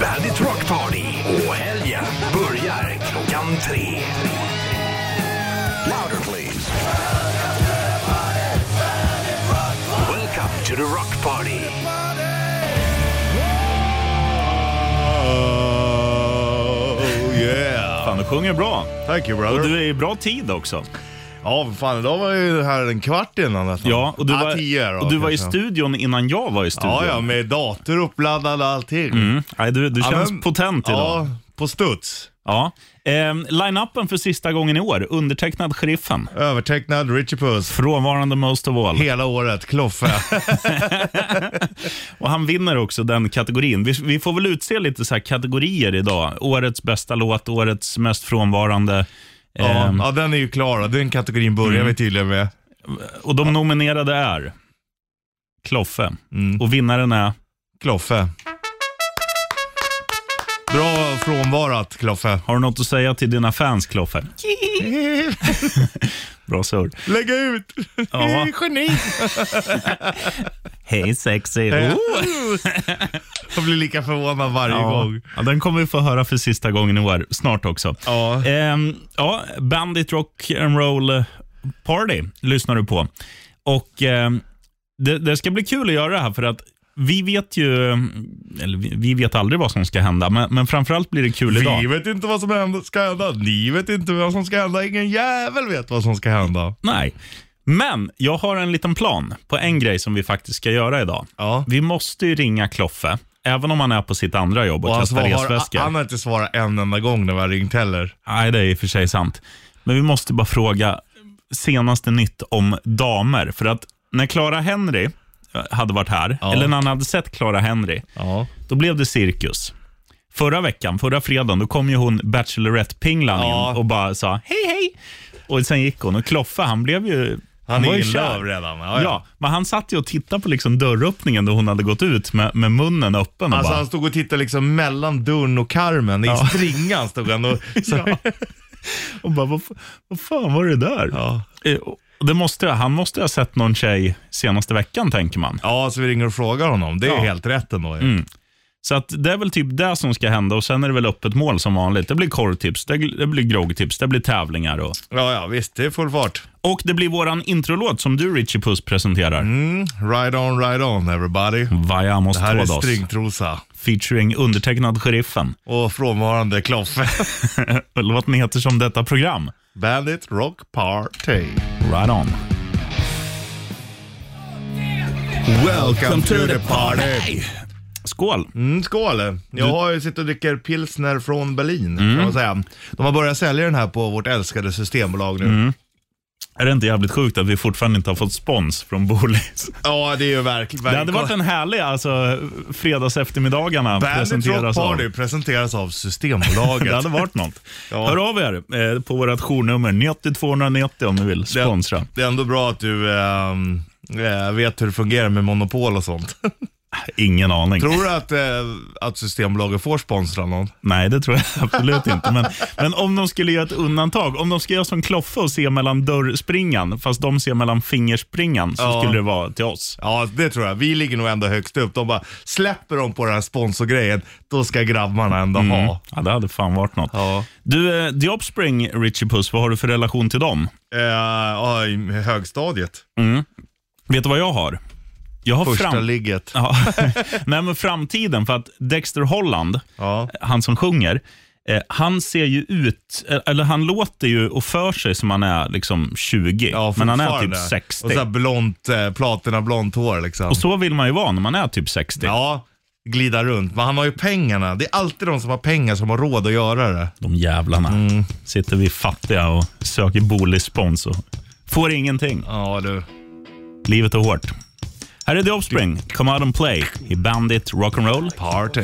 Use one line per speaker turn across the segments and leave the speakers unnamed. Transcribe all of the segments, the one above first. Bandit Rock Party och helgen börjar klockan tre. Louder please. Welcome to the Rock Party.
Oh yeah!
Fan, du sjunger bra.
Thank you
Och
brother.
du är i bra tid också.
Ja, fan idag var ju det här en kvart innan nästan.
Ja, och du
ah,
var,
tio då,
och du var i
kanske.
studion innan jag var i studion.
Ja, ja, med dator uppladdad och allting.
Mm. Nej, du, du
Ja,
känns
men-
potent idag.
Ja, på studs.
Ja. Ehm, Line-upen för sista gången i år, undertecknad Sheriffen.
Övertecknad Richie Puss.
Frånvarande most of all.
Hela året, Kloffe.
Och han vinner också den kategorin. Vi, vi får väl utse lite så här kategorier idag. Årets bästa låt, årets mest frånvarande.
ja,
Ehm, Mm.
ja, den är ju klar då. Den kategorin börjar vi tydligen med.
och de nominerade är Kloffe.
Mm.
Och vinnaren är
Kloffe. Bra frånvarat, Kloffe.
Har du något att säga till dina fans, Kloffe? Bra surr.
Lägg ut!
Ja.
Geni!
Hej sexy.
Jag blir lika förvånad varje
Ja.
gång.
Ja, den kommer vi få höra för sista gången i år, snart också.
Ja.
Ehm, ja, Bandit Rock and Roll Party lyssnar du på. Och ehm, det, det ska bli kul att göra det här för att vi vet ju, eller vi, vi vet aldrig vad som ska hända, men, men framförallt blir det kul idag.
Vi vet inte vad som händer- ska hända. Ni vet inte vad som ska hända. Ingen jävel vet vad som ska hända.
Nej. Men jag har en liten plan på en grej som vi faktiskt ska göra idag.
Ja.
Vi måste ju ringa Kloffe, även om han är på sitt andra jobb och,
Och han,
kastar
svarar,
resväskor.
han har inte svarat en enda gång när vi har ringt heller.
Nej, det är i och för sig sant. Men vi måste bara fråga senaste nytt om damer. För att när Clara Henry eh, hade varit här,
Ja.
eller när han hade sett Clara Henry,
Ja.
då blev det cirkus. Förra veckan, förra fredagen, då kom ju hon Bachelorette-pinglan
Ja.
in och bara sa hej, hej. Och sen gick hon och Kloffe, han blev ju...
Han
var
är
ju
in
kär.
love redan. Ja,
Ja,
ja.
men han satt ju och tittade på liksom dörröppningen då hon hade gått ut med, med munnen öppen. Och
Alltså
bara,
han stod och tittade liksom mellan dörren och karmen. I stringan stod han och... Så, ja.
och bara vad, f- vad fan var det där?
Ja.
Eh, och Det måste, han måste ha sett någon tjej senaste veckan, tänker man.
så vi ringer och frågar honom. Det är
Ja. Mm.
helt rätt ändå. ju.
Så att det är väl typ det som ska hända och sen är det väl öppet mål som vanligt. Det blir korvtips, det, det blir groggtips, det blir tävlingar och,
Ja, ja, visst. Det är full fart.
och det blir våran introlåt som du, Richie Puss, presenterar.
Ride on, ride on everybody.
Vayamos
Mm. Det här är
Todos,
stringtrosa
featuring undertecknad sheriffen.
och frånvarande Kloffe.
Låten heter som detta program.
Bandit Rock Party.
Right on.
Welcome to the party.
Skål!
Mm, skål. Jag har ju suttit och dricker pilsner från Berlin,
Mm.
kan man säga. De har börjat sälja den här på vårt älskade systembolag nu.
Mm. Är det inte jävligt sjukt att vi fortfarande inte har fått spons från Bolis?
Ja, det är ju verkligen...
Det hade varit en härlig alltså, fredags eftermiddagarna
Bandit Rock
presenteras av.
Party presenteras av Systembolaget.
Det hade varit något.
Ja.
Hör av er eh, på vårt journummer 90290 om ni vill
Det-
sponsra.
Det är ändå bra att du ehm, eh, vet hur det fungerar med monopol och sånt.
Ingen aning.
Tror du att, eh, att Systembolaget får sponsra någon?
Nej, det tror jag absolut inte. Men, men om de skulle göra ett undantag, om de ska göra som Kloffe och se mellan dörrspringan, fast de ser mellan fingerspringan, så
Ja.
skulle det vara till oss.
Ja, det tror jag. Vi ligger nog ändå högst upp. De bara, släpper de på den här sponsorgrejen, då ska grabbarna ändå
Mm.
ha.
Ja, det hade fan varit något.
Ja.
Du, eh, The Offspring, Richie Puss, vad har du för relation till dem?
Eh, ja, I högstadiet.
Vet du vad jag har? Jag har
Första
fram...
ligget.
Ja. Nej, men framtiden, för att Dexter Holland,
Ja.
han som sjunger, eh, han ser ju ut, eh, eller han låter ju och för sig som han är liksom 20,
Ja,
men han är typ
fortfarande.
60.
Och så här blont, eh, platina blont hår liksom.
Och så vill man ju vara när man är typ 60.
Ja, glida runt. Men han har ju pengarna. Det är alltid de som har pengar som har råd att göra det.
De jävlarna.
Mm.
Sitter vi fattiga och söker boligspons och får ingenting.
Ja du.
Livet är hårt. Här är The Offspring, Come Out and Play i Bandit Rock'n'Roll.
Party.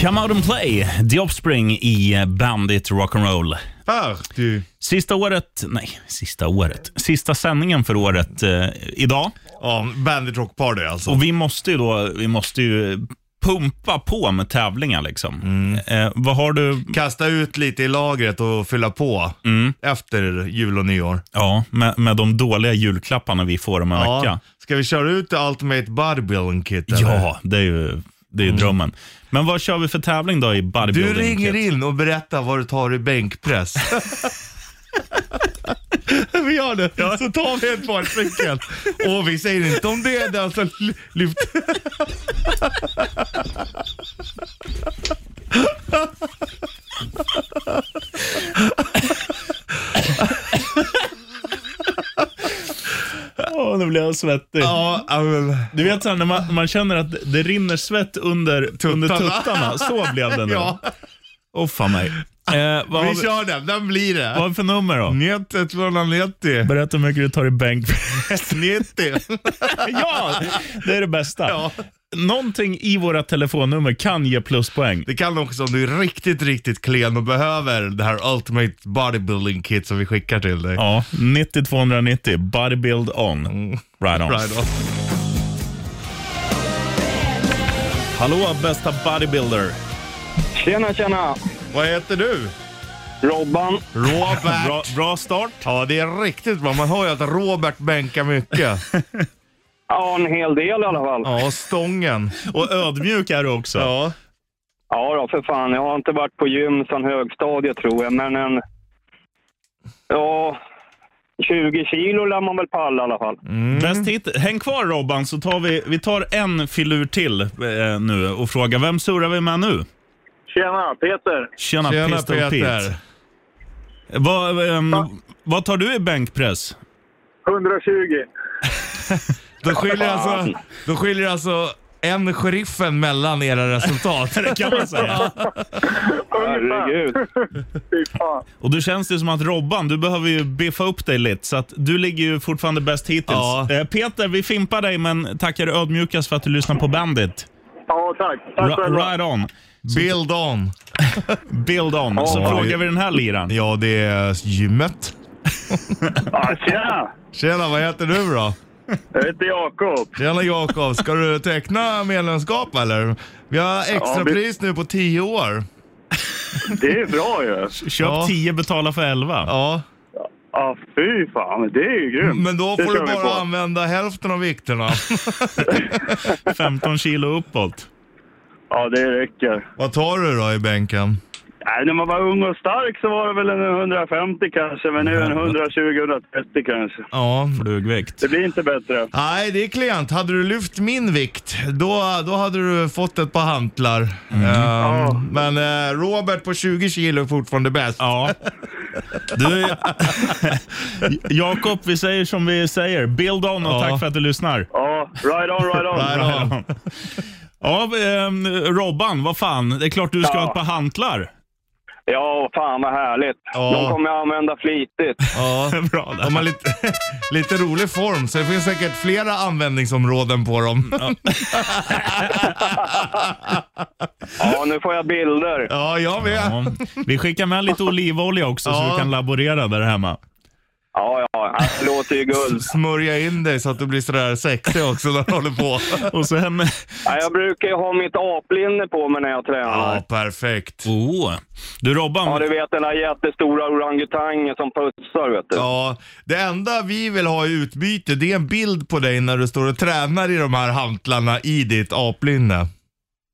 Come Out and Play, The Offspring i Bandit Rock'n'Roll.
Party.
Sista året, nej, sista året. Sista sändningen för året eh, idag.
Ja, Bandit Rock Party alltså.
Och vi måste ju då, vi måste ju pumpa på med tävlingar liksom. Eh, vad har du?
Kasta ut lite i lagret och fylla på
Mm.
efter jul och nyår.
Ja, med, med de dåliga julklapparna vi får om en vecka.
Ska vi köra ut Ultimate Bodybuilding Kit? eller? Mm.
Ja, det är ju Det är ju drömmen. Men vad kör vi för tävling då i bodybuilding?
Du ringer in och berättar vad du tar i bänkpress. vi gör det, så tar vi ett par stycken. Och vi säger inte om det är den som ly- lyft.
Åh, nu blir jag svettig.
Ja, ja, men,
Du vet så här, när man, man känner att det rinner svett under tuttarna. Under tuttarna. Så blev det nu.
ja,
Åh fan mig. Eh, vad, har
vi
vi,
kör den. Den blir
vad
det.
har vi för nummer då?
90 290.
Berätta hur mycket du tar i bänk.
90.
ja, det är det bästa.
Ja.
Någonting i våra telefonnummer kan ge pluspoäng.
Det kan också om du är riktigt, riktigt klen och behöver det här Ultimate Bodybuilding Kit som vi skickar till dig.
Ja, 90-290, bodybuild on. Right on.
Mm. Right on.
Hallå bästa bodybuilder.
Tjena, tjena!
Vad heter du?
Robban.
Robert.
Bra, bra start.
Ja, det är riktigt bra. Man hör ju att Robert bänkar mycket.
Ja, en hel del i alla fall. Ja,
Ja, stången.
Och ödmjuk är du också.
Ja.
då, för fan. Jag har inte varit på gym sedan högstadiet tror jag, men en... Ja, 20 kilo lär man väl palla i alla fall.
Mm.
Bäst hit. Häng kvar Robban så tar vi, vi tar en filur till eh, nu och frågar vem surrar vi med nu?
Tjena, Peter!
Tjena,
Tjena
Pistol
Peter.
Pete. Vad, ehm, vad tar du i bänkpress?
120.
Då skiljer alltså, då skiljer alltså en sheriffen mellan era resultat.
Det kan man säga.
Herregud.
Och då känns det som att Robban, du behöver ju biffa upp dig lite. Så att du ligger ju fortfarande bäst hittills.
Ja.
Eh, Peter, vi fimpar dig men tackar ödmjukast för att du lyssnar på Bandit.
Ja, tack.
Ra- right on.
Build on.
Build on. Så
Ja.
frågar vi den här liran.
Ja, det är gymmet.
Tjena!
Tjena, vad heter du då?
Jag heter Jakob.
Tjena Jakob, ska du teckna medlemskap eller? Vi har extrapris nu på 10 år.
Det är bra ju.
Köp
Ja.
10, betala för 11.
Ja,
Ja, fy fan. Det är ju grymt.
men då får du
kör vi
bara
på.
använda hälften av vikterna.
15 kilo uppåt.
Ja, det räcker.
Vad tar du då i bänken?
Nej, när man var ung och stark så var det väl en 150 kanske, men nu en 120-130 kanske.
Ja.
Flugvikt.
Det blir inte bättre.
Nej, det är klent. Hade du lyft min vikt, då, då hade du fått ett par hantlar.
Mm.
Ehm,
Ja.
Men eh, Robert på 20 kilo är fortfarande bäst.
Ja. Du, Jakob, vi säger som vi säger. Build on och
Ja.
tack för att du lyssnar.
Ja, right on, right on.
Right on.
Ja, ehm, Robban, vad fan. Det är klart du ska
Ja.
ha ett par hantlar.
Ja, fan vad härligt.
Ja.
De kommer jag använda flitigt.
Ja.
Bra där.
De har lite, lite rolig form, så det finns säkert flera användningsområden på dem.
Ja, nu får jag bilder.
Ja, jag med.
Ja. Vi skickar med lite olivolja också så
Ja.
du kan laborera där hemma.
Ja, ja, det låter ju guld.
Smörja in dig så att du blir sådär sexig också när du håller på.
Och sen...
Ja, jag brukar ju ha mitt aplinne på mig när jag tränar.
Ja, perfekt.
Oh. Du Robban,
Ja, du vet den där jättestora orangutangen som pussar, vet du.
Ja, det enda vi vill ha i utbyte det är en bild på dig när du står och tränar i de här hantlarna i ditt aplinne.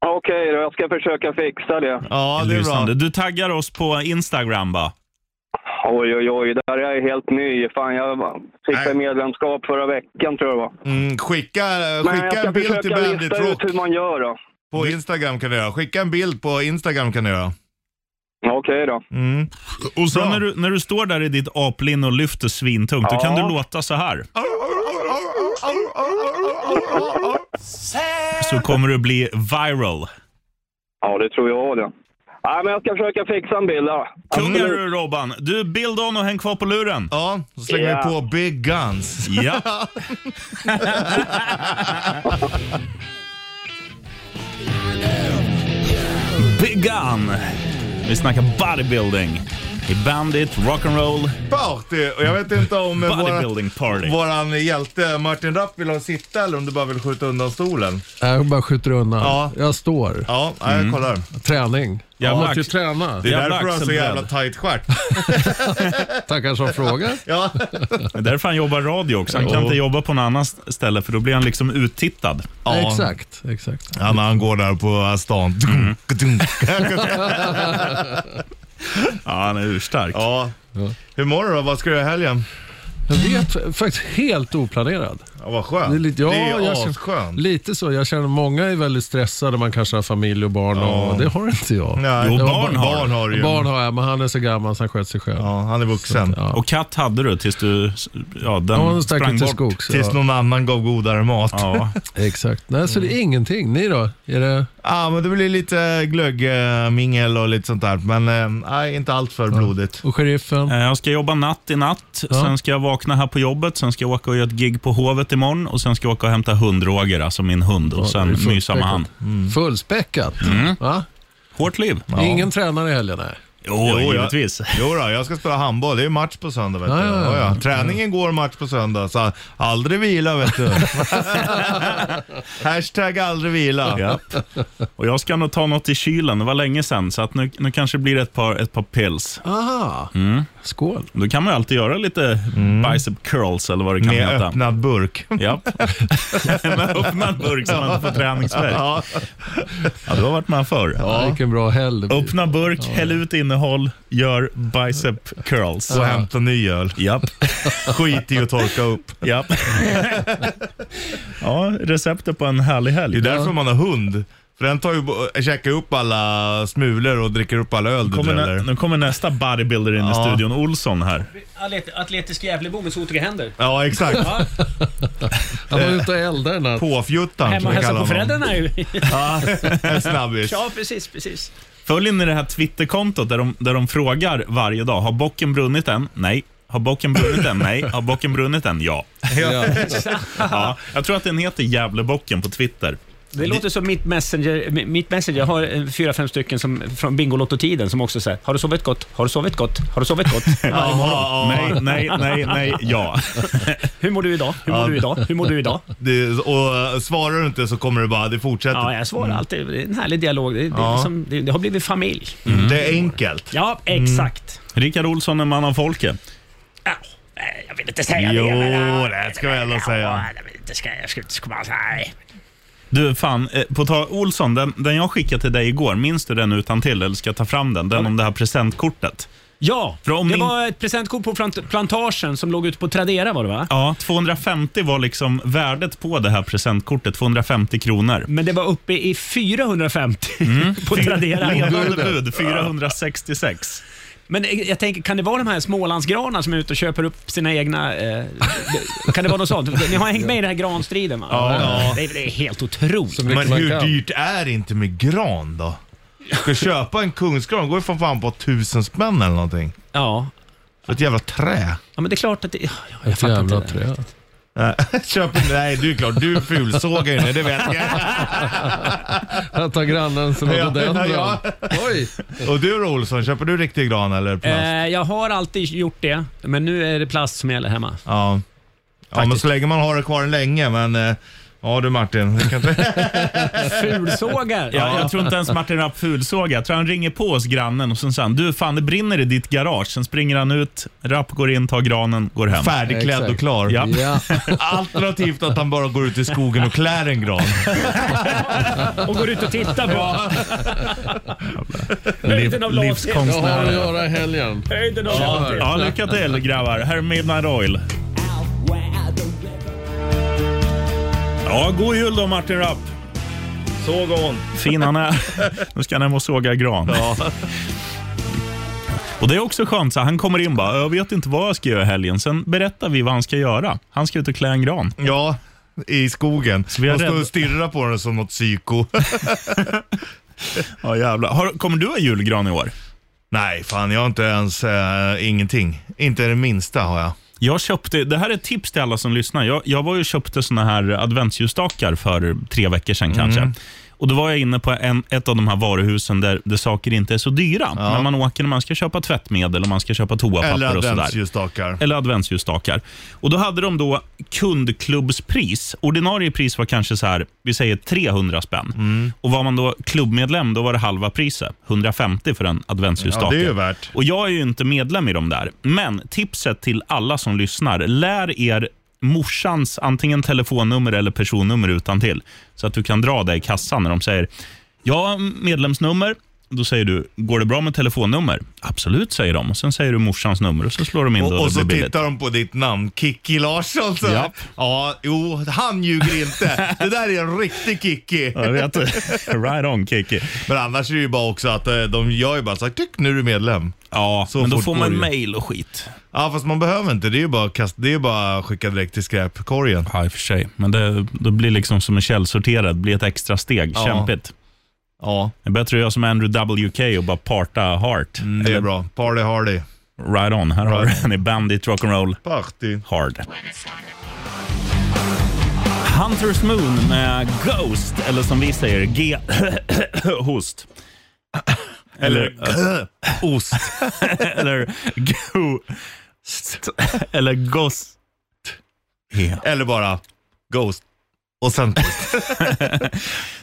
Okej då, jag ska försöka fixa det.
Ja, det är bra.
lysande. du taggar oss på Instagram va?
Oj, oj, oj, där är jag helt ny. Fan, jag fick
Nej.
väl medlemskap förra veckan tror jag det var.
Mm, skicka eh,
Men
skicka en
jag ska
bild till
försöka
Bandit
lista
Rock
ut hur man gör då.
på Instagram kan du göra. Skicka en bild på Instagram kan du göra.
Okej då.
Mm.
Och sen
Bra.
när du, när du står där i ditt aplinne och lyfter svintungt, då kan
Ja.
du låta så här. Så kommer du bli viral.
Ja, det tror jag det. Nej, men jag ska försöka fixa en bild. Alltså, då.
Kung är
Absolut.
du Robban. Du, build on och häng kvar på luren.
Ja, så slänger
Ja.
vi på Big Guns.
Ja. Big Gun. Vi snackar bodybuilding. i Bandit Rock'n'Roll.
Party! Och jag vet inte om eh,
Bodybuilding party.
våran, våran hjälte Martin Rapp vill ha sitta eller om du bara vill skjuta undan stolen.
Jag bara skjuter undan.
Ja.
Jag står.
Ja, nej,
Mm.
jag kollar.
Träning. Jag
Jävla
måste ju
ax-
träna.
Det är
Jävla
därför du har så
axelbredd.
jävla tight stjärt.
Tackar som frågar.
Ja.
Det är därför han jobbar radio också. Han kan
Jo.
inte jobba på något annat ställe för då blir han liksom uttittad.
Ja.
Exakt, exakt.
Ja, när han går där på stan. Dunk, dunk.
Mm. Ja, han är urstark.
ja. Hur mår du då? Vad ska du göra i helgen?
Jag vet faktiskt helt oplanerad.
Ja, vad skönt.
Det är lite, ja,
det
jag
är
känner-
asskönt.
Lite så. Jag känner många är väldigt stressade. Man kanske har familj och barn och det har inte jag.
Nej.
Jo,
Ja,
barn har.
barn har ju.
Barn har jag, men han är så gammal så han sköter sig själv.
Ja, han är vuxen.
Ja.
Och katt hade du tills du... Ja, den
Ja, de stack
sprang
ut till
bort.
skogs.
Tills
Ja,
någon annan gav godare mat. Ja,
Ja.
exakt. Nej, så
Mm.
det är ingenting. Ni då? Är det...
ah, men det blir lite glöggmingel och lite sånt där. Men eh, nej, inte allt för blodigt.
Och sheriffen?
Eh, Jag ska jobba natt i natt, sen ska jag vakna här på jobbet, sen ska jag åka och göra ett gig på Hovet imorgon och sen ska jag åka och hämta hund-Roger, alltså min hund, och sen
det är fullt
mysa med han. Mm.
säkert.
Mm.
Fullspäckat. Va?
Hårt liv.
Ingen tränare i helgen? Nej.
Jo,
Jo, jag-
givetvis.
Jo då, jag ska spela handboll. Det är ju match på söndag. Vet du.
Ja, ja, ja.
Ja, ja. Träningen går match på söndag, så aldrig vila vet du. Hashtag aldrig vila.
Och jag ska nog ta något i kylen, det var länge sedan, så att nu, nu kanske det blir ett par, ett par pills.
Aha. Skål.
Då kan man ju alltid göra lite
Mm.
bicep curls eller vad det kan
Med
heta.
öppnad burk.
Japp. Med öppnad burk så man inte får träningsvärk. Ja. du har varit med förr.
Vilken bra helg det blir.
Öppna burk, häll ut innehåll, gör bicep curls.
Och hämta ny öl.
Japp.
Skit i att torka upp.
Japp. ja, receptet på en härlig
Det är
helg.
därför man har hund. För den tar ju, bo- käkar upp alla smulor och dricker upp alla öl du
Kommer nä-
dräller.
nu kommer nästa bodybuilder in i
Ja.
studion, Olsson här.
Atlet- Atletisk Gävlebo med sotiga händer.
Ja, exakt.
Ja,
Han var ute och eldade i natt.
Påfjuttan
hemma
som
och
vi
hälsa
kallar
på
honom.
föräldrarna ju.
En snabbis.
Ja, precis, precis.
Följ in i det här Twitterkontot där de, där de frågar varje dag, har bocken brunnit än? Nej. Har bocken brunnit än? Nej. Har bocken brunnit än? Ja.
Ja.
ja. Jag tror att den heter Gävlebocken på Twitter.
Det låter som mitt messenger. mi- Mitt messenger jag har eh, fyra, fem stycken som, från Bingolotto-tiden som också säger Har du sovit gott? Har du sovit gott? Har du sovit gott?
Ja, ja, ja.
Nej, nej, nej, nej, ja.
Hur mår du idag? Hur mår du idag? Hur mår du idag?
Det, och eh, svarar du inte så kommer det bara, det fortsätter.
Ja, jag svarar alltid. Det är en härlig dialog. Det, det, är liksom, det, det har blivit familj.
Det är enkelt.
Ja, exakt.
Rickard Olsson, en man av folket.
Ja, nej, jag vill inte säga
Jo,
det. men, ja,
det ska jag ändå
ja,
säga.
Jag vill inte säga. Jag skulle inte komma så här.
Du, fan, eh, på tal Olsson, den, den jag skickade till dig igår, minns du den utan till eller ska jag ta fram den? Den om det här presentkortet.
Ja,
För om
det
min-
var ett presentkort på plant- plantagen som låg ute på Tradera var det va?
Ja, 250 var liksom värdet på det här presentkortet, 250 kronor.
Men det var uppe i 450 på Tradera.
Levande bud, 466.
Men eh, jag tänker, kan det vara de här smålandsgranar som är ute och köper upp sina egna... Eh, d- kan det vara något sånt? Ni har hängt med i den här granstriden va?
Ja.
Det, är- det är helt otroligt.
Så mycket
Men
man
hur
kan.
dyrt är det inte med gran då? Ska köpa en kungsgran, går ju för fan på tusen spänn eller någonting.
Ja.
För ett jävla trä.
ja, men det är klart att det... Ja, jag
Ett
fattar
jävla
inte det.
trä.
Köp, nej, du är klart, du fulsågar ju nu, det vet jag.
Att ta grannens rhododendron.
Ja,
Oj!
Och du då Olsson, köper du riktig gran eller plast?
Eh, jag har alltid gjort det, men nu är det plast som gäller hemma.
Ja. ja, men så länge man har det kvar en länge, men... eh, Ja du Martin, det kan inte...
Fulsågar!
Ja, jag tror inte ens Martin Rapp fulsåg. Jag tror han ringer på oss grannen och sen säger han, du fan det brinner i ditt garage. Sen springer han ut, Rapp går in, tar granen, går hem.
färdigklädd och
Exakt.
klar.
Ja.
Ja.
Alternativt att han bara går ut i skogen och klär en gran.
Och går ut och tittar på Höjden av
Liv,
lathet.
Jag har att
livskonstnär.
göra i helgen.
höjden av lathet.
Ja, lycka till grabbar. Här är Midnight Oil. Ja, god jul då Martin Rapp.
Såg hon.
Fin han är. Nu ska han hem och såga gran. Och Det är också skönt, så här, han kommer in bara, jag vet inte vad jag ska göra i helgen. Sen berättar vi vad han ska göra. Han ska ut och klä en gran.
Ja, i skogen.
vi har
Hon står
rädd-
och stirrar på den som något psyko.
Ja, jävlar. Har, kommer du ha julgran i år?
Nej, fan jag har inte ens eh, ingenting. Inte det minsta har jag.
Jag köpte, det här är ett tips till alla som lyssnar. Jag, jag var ju och köpte såna här adventsljusstakar för tre veckor sedan kanske. Och Då var jag inne på en, ett av de här varuhusen där, där saker inte är så dyra. När man åker när man ska köpa tvättmedel och man ska köpa
Eller
toapapper och sådär.
adventsljusstakar.
Eller adventsljusstakar. Och Då hade de då kundklubbspris. Ordinarie pris var kanske så här, vi säger 300 spänn. Och Var man då klubbmedlem då var det halva priset, 150 för en adventsljusstake.
Ja, det är ju värt.
Och jag är ju inte medlem i de där. Men tipset till alla som lyssnar, lär er morsans antingen telefonnummer eller personnummer utan till Så att du kan dra dig i kassan när de säger ja, medlemsnummer. Då säger du, går det bra med telefonnummer? Absolut, säger de. Och Sen säger du morsans nummer och så slår de in det
Och,
och,
och
det
så
blir billigt.
tittar de på ditt namn, Kikki Larsson. Så.
Japp.
Ja, jo, han ljuger inte. Det där är en riktig Kikki.
Jag vet. right on, Kiki.
Men annars är det ju bara också att eh, de gör ju bara så här, tyck nu är du medlem.
Ja,
Så
men då
fort
får
går det
man
ju.
mail och skit.
Ja, fast man behöver inte. Det är ju bara, kast, det är ju bara skicka direkt till skräpkorgen.
Ja, i och för sig. Men det, det blir liksom som en källsorterad, blir ett extra steg.
Ja.
Kämpigt.
Ja,
Det är bättre att göra som Andrew WK och bara parta hard.
det är bra. Party hardy.
Right on. Här har
Right
du den i Bandit Rock'n'Roll
Party.
Hard. Hunter's Moon med Ghost, eller som vi säger, G... host. Eller... eh,
Ost.
eller... Ghost. Eller Ghost.
Eller bara Ghost. Och sen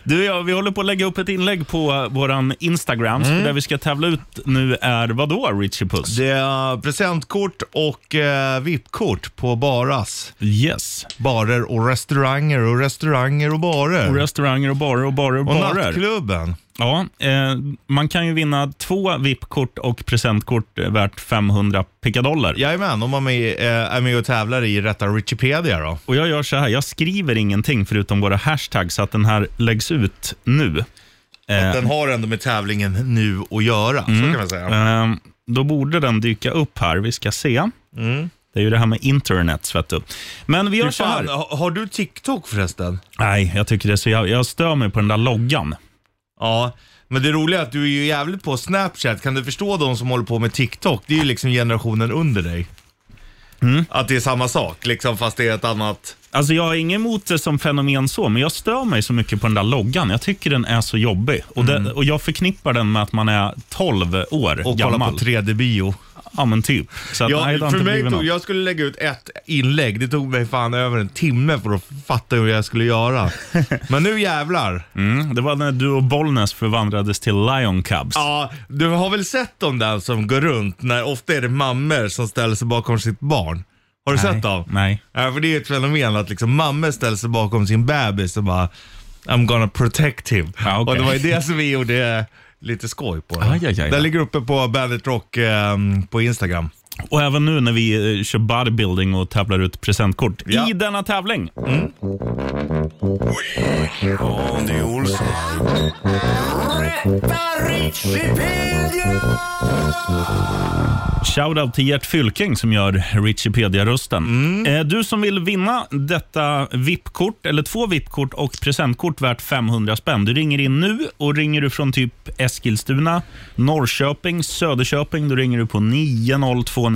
Du och jag, vi håller på att lägga upp ett inlägg på eh, våran Instagram för där vi ska tävla ut nu är vad då Richie Puss?
det är eh, presentkort och eh, VIP-kort på baras.
Yes.
Barer och restauranger och restauranger och barer.
Och restauranger och barer och barer Mm. och
och
barer.
nattklubben.
Ja, eh, man kan ju vinna två VIP-kort och presentkort eh, värt 500 pickadollar.
Jajamän, om man är med, eh, är med och tävlar i Rätta Wikipedia då.
Och jag gör så här, jag skriver ingenting förutom våra hashtags så att den här läggs ut nu. Eh,
Den har ändå med tävlingen nu att göra, så kan man säga.
Eh, då borde den dyka upp här. Vi ska se. Det är ju det här med internet, vet du. Men vi gör
Du,
så här.
Mm. fan, ha- har du TikTok förresten?
Nej, jag tycker det är så jag, jag stör mig på den där loggan.
Ja, men det roliga är att du är ju jävligt på Snapchat. Kan du förstå de som håller på med TikTok? Det är ju liksom generationen under dig.
Mm.
Att det är samma sak, liksom, fast det är ett annat...
Alltså jag har inget emot det som fenomen så, men jag stör mig så mycket på den där loggan. Jag tycker den är så jobbig. Och, det, och jag förknippar den med att man är 12 år
Mm. Och kolla
gammal.
på 3D-bio.
Ja, men typ. Så att, nej, det har
Jag, för
inte
mig
blivit
tog,
något.
jag skulle lägga ut ett inlägg. Det tog mig fan över en timme för att fatta hur jag skulle göra. Men nu jävlar.
Mm, det var när du och Bollnäs förvandlades till Lion Cubs.
Ja, du har väl sett dem där som går runt när ofta är det mammor som ställer sig bakom sitt barn. Har du
Nej,
sett dem?
nej.
Ja, för det är ju ett fenomen att liksom mammor ställer sig bakom sin bebis och bara I'm gonna protect him.
Ja, okej.
Och det var ju det som vi gjorde lite skoj på.
Aj, aj, aj, aj.
Den ligger uppe på Bandit Rock eh, på Instagram.
Och även nu när vi eh, kör bodybuilding och tävlar ut presentkort
Ja.
i denna tävling.
Andy Olsson. Rätta Richipedia!
Shoutout till Gert Fylking som gör Richipedia-rösten.
Mm.
Eh, Du som vill vinna detta VIP-kort, eller två VIP-kort och presentkort värt 500 spänn. Du ringer in nu och ringer du från typ Eskilstuna, Norrköping, Söderköping, då ringer du på 90290.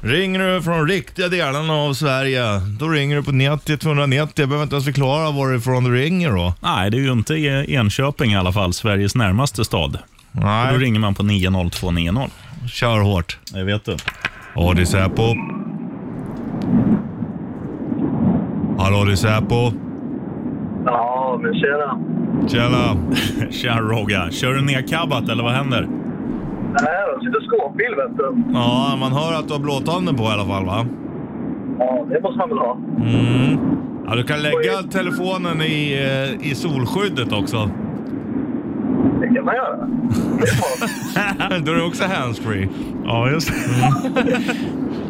Ringer du från riktiga delarna av Sverige, då ringer du på 90 290. Jag behöver inte ens förklara varifrån du ringer då.
Nej, det är ju inte i Enköping i alla fall, Sveriges närmaste stad. Och då
Nej,
ringer man på 90290.
kör hårt.
Det vet du.
Ja, det är Säpo. Hallå, det är Säpo.
Ja, men tjena.
Tjena.
Tja Rogga, kör du nedcabbat eller vad händer?
Nej, jag sitter och skåpbil, vet du.
Ja, man hör att du har blåtanden på i alla fall, va?
Ja, det måste man väl ha.
Ja, du kan lägga telefonen i, eh, i solskyddet också.
Det kan man göra.
Då är det också handsfree.
Ja, just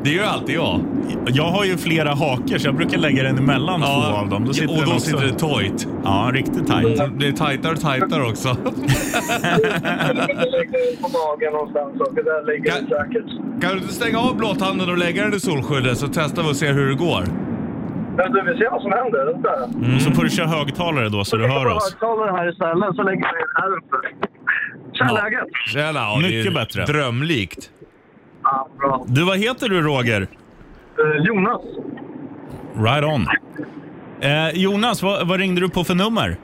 Det gör alltid jag.
Jag har ju flera haker så jag brukar lägga den emellan två av dem. Då sitter
och
den
då
också.
sitter det tight.
Ja, riktigt tajt.
Det blir tajtare och tajtare också.
Jag lägger den på magen någonstans och det där ligger den säkert.
Kan du inte stänga av blåtanden och lägga den i solskyddet så testar vi och ser hur det går?
Men du, vi ser vad som händer. Vänta.
Och
Mm.
så får du köra högtalare då så du hör oss.
högtalaren här istället så lägger vi den här uppe. Tja, läget?
Tjena, ja, det är
Mycket bättre.
Drömlikt.
Ja, bra.
Du, vad heter du Roger?
Eh, Jonas?
Right on. Eh, Jonas, vad, vad ringde du på för nummer?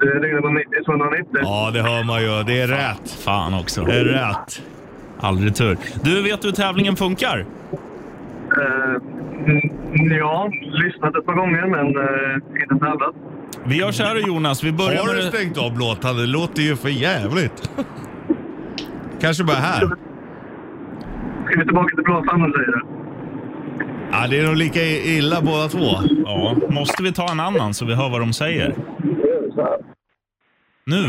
Det ringde på 90 290.
Ja, det hör man ju. Det är rätt.
Fan också.
Det är rätt.
Aldrig tur. Du, vet du hur tävlingen funkar?
Eh, mm, ja, lyssnat ett par gånger men eh, inte tävlat.
Vi gör så här Jonas, vi börjar
Mm. Har du
med...
stängt av låtan? Det låter ju för jävligt. Kanske bara här.
Ska vi tillbaka till blåsanden säger du?
Ja, det är nog lika illa båda två.
Ja, måste vi ta en annan så vi hör vad de säger? Nu.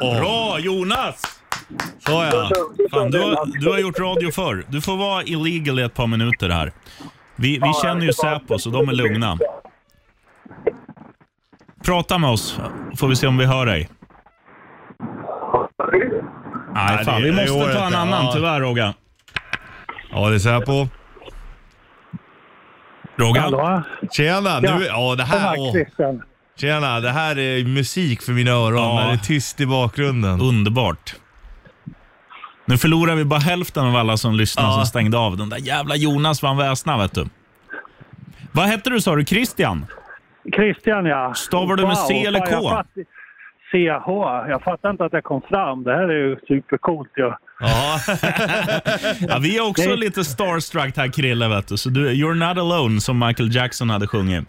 Bra Jonas!
Så ja.
Fan, du, har, du har gjort radio förr. Du får vara illegal i ett par minuter här. Vi, vi känner ju Säpo, så de är lugna. Prata med oss, får vi se om vi hör dig. Nej,
det-
fan, vi
det går
måste ta en
inte. Ja.
annan tyvärr, Rogga.
Ja, det är Säpo.
Rogga?
Tjena! Nu, ja, det här, åh.
Christian.
tjena, det här är musik för mina öron
Ja.
när det är tyst i bakgrunden.
Underbart. Nu förlorar vi bara hälften av alla som lyssnar
Ja.
som stängde av. Den där jävla Jonas vann väsna, vet du. Vad hette du sa du? Christian?
Christian ja.
Stavar du med C eller
fan,
K?
jag fatt- CH. Jag fattar inte att jag kom fram. Det här är ju supercoolt ju. Ja.
Ja.
Ja, vi är också
Nej.
lite starstruck här Krille, vet du. Så du, you're not alone som Michael Jackson hade sjungit.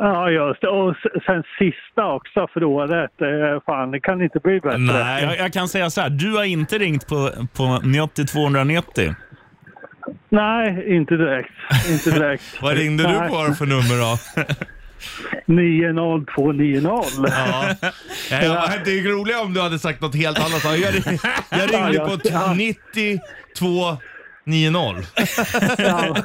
ja, just det. Och s- sen sista också för året. Eh, Fan, det kan inte bli bättre.
Nej. Jag, jag kan säga så här, du har inte ringt på, på 90 290.
Nej, inte direkt. Inte direkt.
Vad ringde du på för nummer då?
90290.
Ja. Nej, jag- Det är ju roligare om du hade sagt något helt annat. Jag, ring- jag ringde på t- 92 90.
Ja.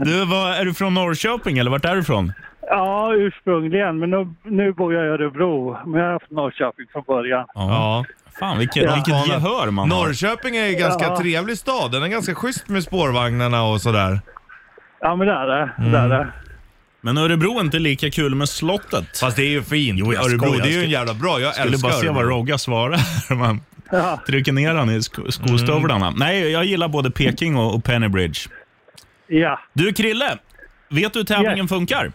Du, var, är du från Norrköping eller vart är du ifrån?
ja, ursprungligen. Men nu, nu bor jag i Örebro. Men jag har haft Norrköping från början.
Ja.
Fan, vilket, vilket gehör man har.
Norrköping är en ganska
Ja.
trevlig stad. Den är ganska schysst med spårvagnarna och sådär.
Ja, men det är det. Det
Mm.
är det.
Men Örebro är inte lika kul med slottet.
Fast det är ju fint. Jo,
jag
Örebro,
skojar.
det är ju
Jag
en jävla bra. Jag
Jag ville
älskar
bara se vad
Örebro.
Rogga svarar. Man
Ja.
trycker ner han i sko- skostövlarna.
Mm.
Nej, jag gillar både Peking och, och Pennybridge.
Ja.
Du Krille, vet du hur tävlingen
Yes.
funkar?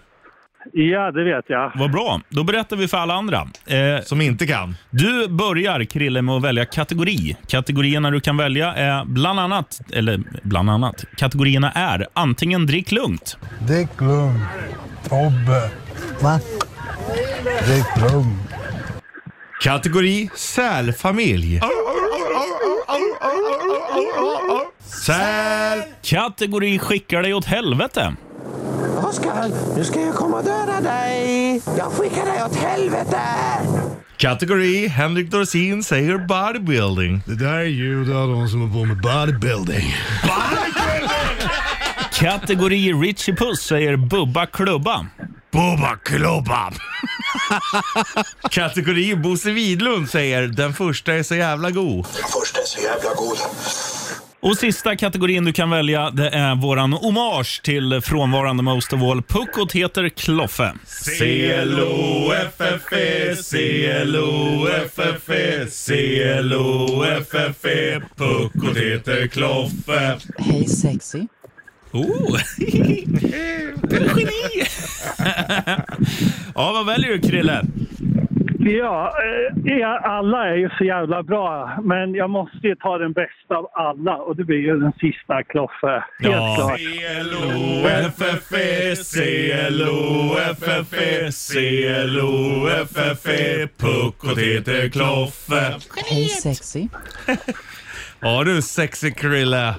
ja, det vet jag.
Vad bra. Då berättar vi för alla andra. Eh,
Som inte kan.
Du börjar Krille med att välja kategori. Kategorierna du kan välja är bland annat, eller bland annat, kategorierna är antingen drick lugnt,
Dick Lund, Tobbe. Va? Dick Lund.
Kategori sälfamilj. Säl...
kategori skickar dig åt helvete,
Oskar, nu ska jag komma och döda dig! Jag skickar dig åt helvete!
Kategori Henrik Dorsin säger bodybuilding.
Det där är ljud av de som håller på med bodybuilding.
kategori Richie Puss säger bubba klubba,
Bubba klubba. Kategori Bosse Widlund säger den första är så jävla god.
Först är så jävla god.
och sista kategorin du kan välja det är våran hommage till frånvarande Most of All. Puckot heter Kloffe.
C-L-O-F-F-E, C-L-O-F-F-E, C-L-O-F-F-E, puckot heter Kloffe.
Hej sexy.
Oh. Geni! ja, vad väljer du Krille?
Ja, eh, er- alla är ju så jävla bra. Men jag måste ju ta den bästa av alla och det blir ju den sista, Kloffe. Helt
Ja.
klart.
C-L-O-F-F-E, C-L-O-F-F-E, C-L-O-F-F-E, E. puckot heter Kloffe.
Hej sexy.
Ja du, sexy Krille.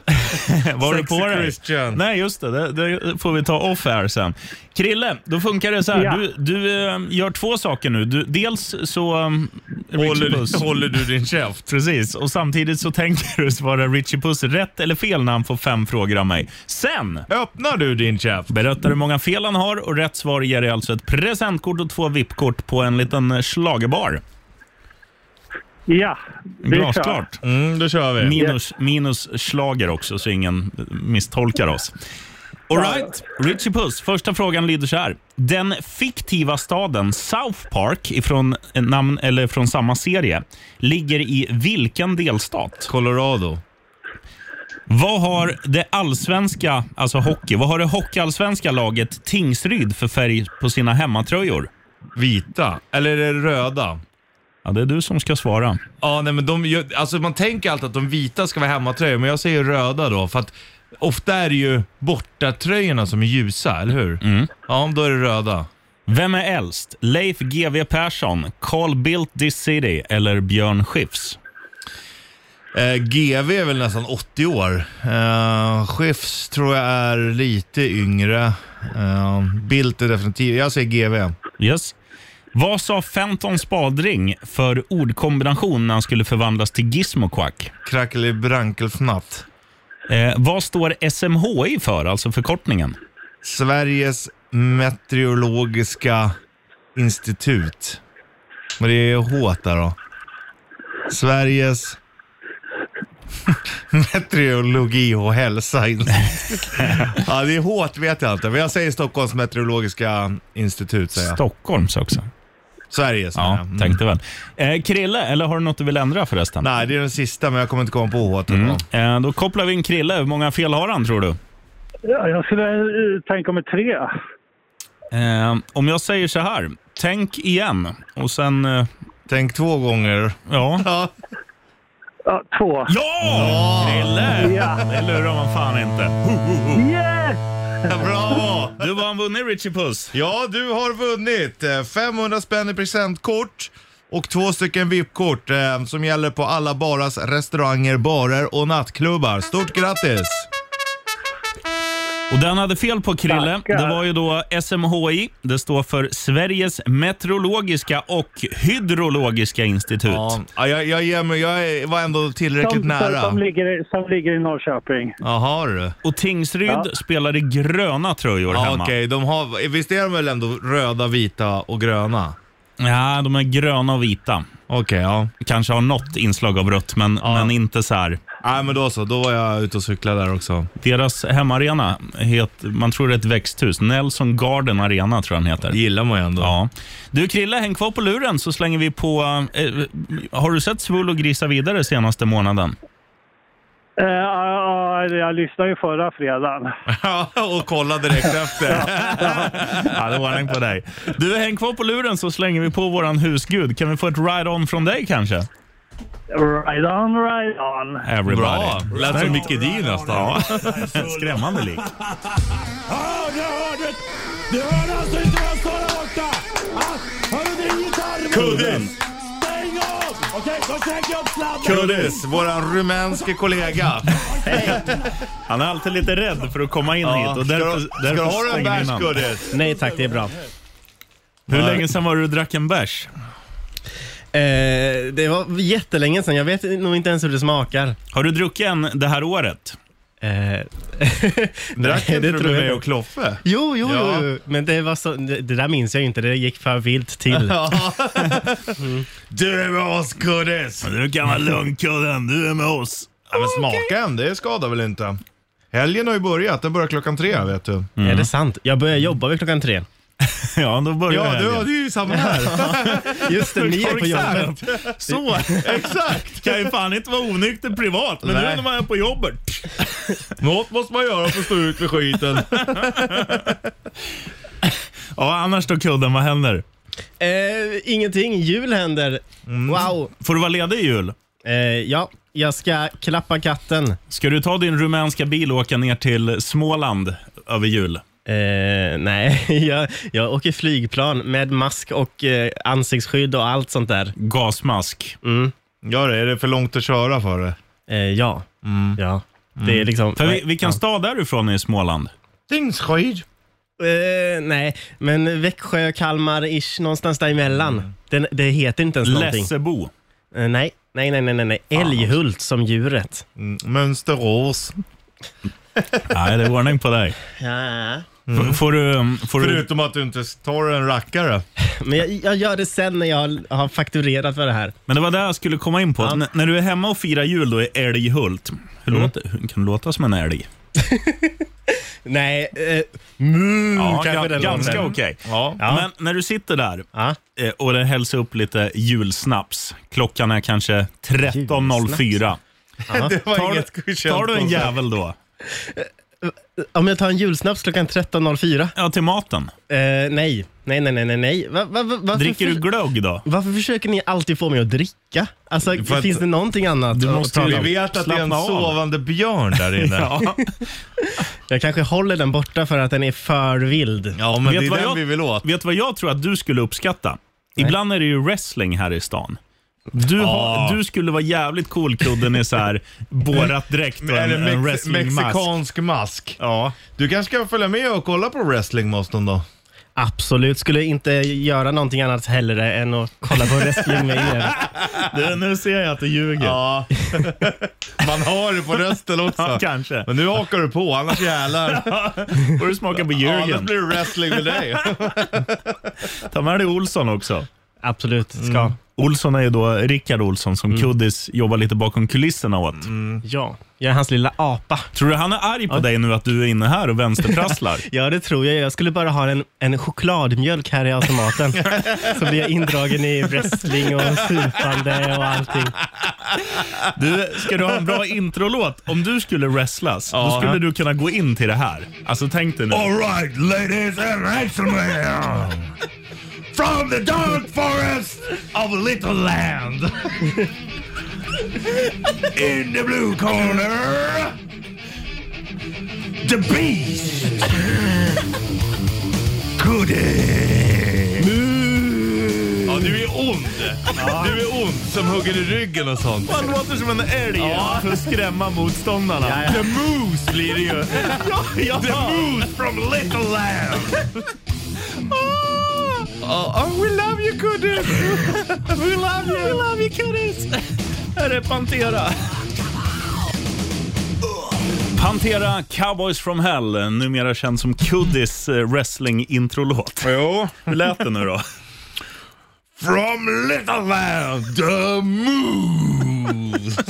Var du
Sexy
på det?
Christian.
Nej, just det. det. Det får vi ta off här sen. Krille, då funkar det så här.
Ja.
Du, du eh, gör två saker nu. Du, dels så... Um, Richie Puss.
Håller, håller du din käft?
Precis, och samtidigt så tänker du svara Richie Puss rätt eller fel när han får fem frågor av mig. Sen
Öppnar du din käft?
Berättar hur många fel han har och rätt svar ger dig alltså ett presentkort och två VIP-kort på en liten schlagerbar.
Ja, det är klart.
Glasklart.
Mm, då kör vi.
Minus, minus slager också, så ingen misstolkar oss. Alright, Richie Puss. Första frågan lyder så här. Den fiktiva staden South Park ifrån, eh, namn, eller från samma serie ligger i vilken delstat?
Colorado.
Vad har det allsvenska, alltså hockey, vad har det hockeyallsvenska laget Tingsryd för färg på sina hemmatröjor?
Vita? Eller är det röda?
Ja, det är du som ska svara.
Ja, nej, men de, gör- alltså man tänker alltid att de vita ska vara hemmatröjor, men jag säger röda då. För att ofta är det ju bortatröjorna som är ljusa, eller hur? Ja, då är det röda.
Vem är äldst? Leif GW Persson, Carl Bildt This City eller Björn Skifs?
Eh, GV är väl nästan 80 år. Eh, Schiffs tror jag är lite yngre. Eh, Bildt är definitivt... Jag säger GV.
Yes. Vad sa Fenton Spadring för ordkombination när han skulle förvandlas till Gizmoquack?
Krackelibrankelfnatt.
Eh, vad står SMHI för, alltså förkortningen?
Sveriges meteorologiska institut. Men det är H där då. Sveriges meteorologi och hälsa. ja, det är hårt vet jag inte, men jag säger Stockholms meteorologiska institut. Säger jag.
Stockholms också.
Sveriges.
Ja, mm. tänkte väl. Eh, Krille, eller har du något du vill ändra förresten?
Nej, det är den sista, men jag kommer inte komma på H. Mm.
Eh, då kopplar vi in Krille. Hur många fel har han, tror du?
Ja, jag skulle eh, tänka mig tre.
Eh, om jag säger så här, tänk igen och sen... Eh...
Tänk två gånger.
Ja.
Ja, två.
Ja! Krille! Det lurar man fan inte.
Yes!
Bra!
Du var en vunnit, Richie Puss.
Ja, du har vunnit eh, 500 spänn i presentkort och två stycken VIP-kort eh, som gäller på alla baras, restauranger, barer och nattklubbar. Stort grattis!
Och den hade fel på Krille. Det var ju då SMHI. Det står för Sveriges meteorologiska och hydrologiska institut.
Ja, ja, jag, jag ger mig. Jag är- var ändå tillräckligt
Som, som,
nära.
ligger, i- som ligger i Norrköping.
Jaha du.
Och Tingsryd
Ja.
spelar i gröna tröjor
Ja,
hemma.
Okej, de har, visst är de väl ändå röda, vita och gröna?
Ja, de är gröna och vita.
Okej, ja.
Kanske har något inslag av rött, men, men inte så här.
Nej, men då så. Då var jag ute och cyklade där också.
Deras hemarena, het, man tror det är ett växthus. Nelson Garden Arena tror jag den heter.
Det gillar man ju ändå.
Ja. Du Krille, häng kvar på luren så slänger vi på... Eh, har du sett Svull och grisa vidare senaste månaden?
Eh, ja, ja, jag lyssnade ju förra fredagen.
Ja, och kolla direkt efter.
Ja, det var ordning på dig. Du, häng kvar på luren så slänger vi på våran husgud. Kan vi få ett ride-on från dig kanske?
Right on, right on.
Everybody.
Bra! Lät som
Snyggt.
Mickey D nästan.
Skrämmande lik.
Du hörde alltså inte vad jag sa där borta! Ah, Har du drivit armen?
Kuddis!
Stäng av! Okej, då käkar jag upp sladden.
Kuddis, våran rumänske kollega.
Han är alltid lite rädd för att komma in hit. Och därför,
Ska du
därför
ha en
stänger vi
bärs
innan.
Kuddis?
Nej tack, det är bra.
Hur länge sedan var du drack en bärs?
Eh, det var jättelänge sedan. Jag vet nog inte ens hur det smakar.
Har du druckit en det här året?
Eh,
Drack
Nej,
inte du med
jag
mig
inte.
och Kloffe?
Jo, jo,
Ja.
jo, jo. Men det, var så, det, det där minns jag ju inte. Det gick för vilt till.
Du är med oss Kuddis!
Du kan vara lugn kudden, du är med oss.
Ja, men smaka en, det skadar väl inte. Helgen har ju börjat, den börjar klockan tre vet du.
Är
Mm.
det sant? Jag börjar jobba vid klockan tre.
Ja, då börjar
Ja,
helgen.
du, det är ju samma här.
Just det, ni är på
Exakt.
jobbet.
Så! Exakt! Kan ju fan inte vara onykter privat, men nu
Nej.
när man är på jobbet.
Något måste man göra för att stå ut med skiten.
Ja, annars då kudden, vad händer?
Eh, ingenting. Jul händer.
Mm.
Wow.
Får du vara ledig i jul?
Eh, ja, jag ska klappa katten.
Ska du ta din rumänska bil och åka ner till Småland över jul?
Eh, nej, jag, jag åker flygplan med mask och eh, ansiktsskydd och allt sånt där.
Gasmask.
Mm.
Gör det, är det för långt att köra för det?
Eh, ja.
Mm.
ja. Det är liksom...
För vi, vilken
ja.
stad är du ifrån i Småland?
Dyngskid.
Eh, nej, men Växjö, Kalmar-ish, någonstans däremellan.
Mm.
Den, det heter inte ens någonting.
Lessebo.
Eh, nej, nej, nej, nej, nej, nej.
alltså.
Älghult som djuret.
Mm, Mönsterås.
Nej, det är ordning på dig.
Ja.
F- Får du... mm, Får du
Förutom att du inte tar en rackare.
Men jag, jag gör det sen när jag har fakturerat för det här.
men det var där jag skulle komma in på. N- när du är hemma och firar jul då i Älghult, hur låter, hur- kan du låta som en älg?
Nej, eh, mm,
Ja,
kanske
ga-
den
ganska
låten.
okej.
Ja.
Men när du sitter där
Ja.
eh, och det hälls upp lite julsnaps, klockan är kanske 13.04.
Det var
Tar,
inget
tar du en jävel då?
Om jag tar en julsnaps klockan 13.04?
Ja, till maten.
Eh, nej, nej, nej, nej, nej. nej. Va, va, va, varför
Dricker du glögg då?
Varför försöker ni alltid få mig att dricka? Alltså,
För att-
finns det någonting annat
Du
att
måste
prata
Vi
om?
vet att det är en
Slappna av.
sovande björn där inne.
Ja. Jag kanske håller den borta för att den är för vild.
Ja,
Vet vad jag, Vet vad jag tror att du skulle uppskatta? Ibland är det ju wrestling här i stan. Du, har,
Ja.
du skulle vara jävligt cool kudden i så här borat dräkt och en,
Eller
en
mex-
wrestlingmask.
mexikansk mask.
Ja.
Du kanske kan följa med och kolla på wrestling med oss någon dag?
Absolut, skulle inte göra någonting annat hellre än att kolla på wrestling med er.
Du, nu ser jag att du ljuger.
Ja. Man har det på rösten också.
Ja, kanske.
Men nu hakar du på, annars jävlar.
Får du smaka på
Ja,
Jürgen.
annars blir det wrestling med dig.
Ta med dig Olsson också.
Absolut, ska.
Mm. Olsson är ju då Rickard Olsson som
Mm.
Kuddis jobbar lite bakom kulisserna åt.
Ja, jag är hans lilla apa.
Tror du han är arg på dig nu att du är inne här och vänsterprasslar?
ja, det tror jag. Jag skulle bara ha en, en chokladmjölk här i automaten. så blir jag indragen i wrestling och supande och allting.
Du, ska du ha en bra introlåt? Om du skulle wrestlas, då skulle du kunna gå in till det här. Alltså tänk dig nu.
All right, ladies and gentlemen. From the dark forest of Little Land. In the blue corner. The beast. Goodie.
Ja, du är ond. Du är ond som hugger i ryggen och sånt.
Han låter som en älg
Ja.
för att skrämma motståndarna.
The Moose blir det ju.
Ja, ja.
The moose from Little Land.
Oh, oh, we love you, Kudde!
We love you! We love you, kiddies!
Här är Pantera. Pantera Cowboys from Hell, numera känd som Kuddis eh, wrestling-introlåt.
Jo.
Hur lät det nu då?
From Little Land, the moose!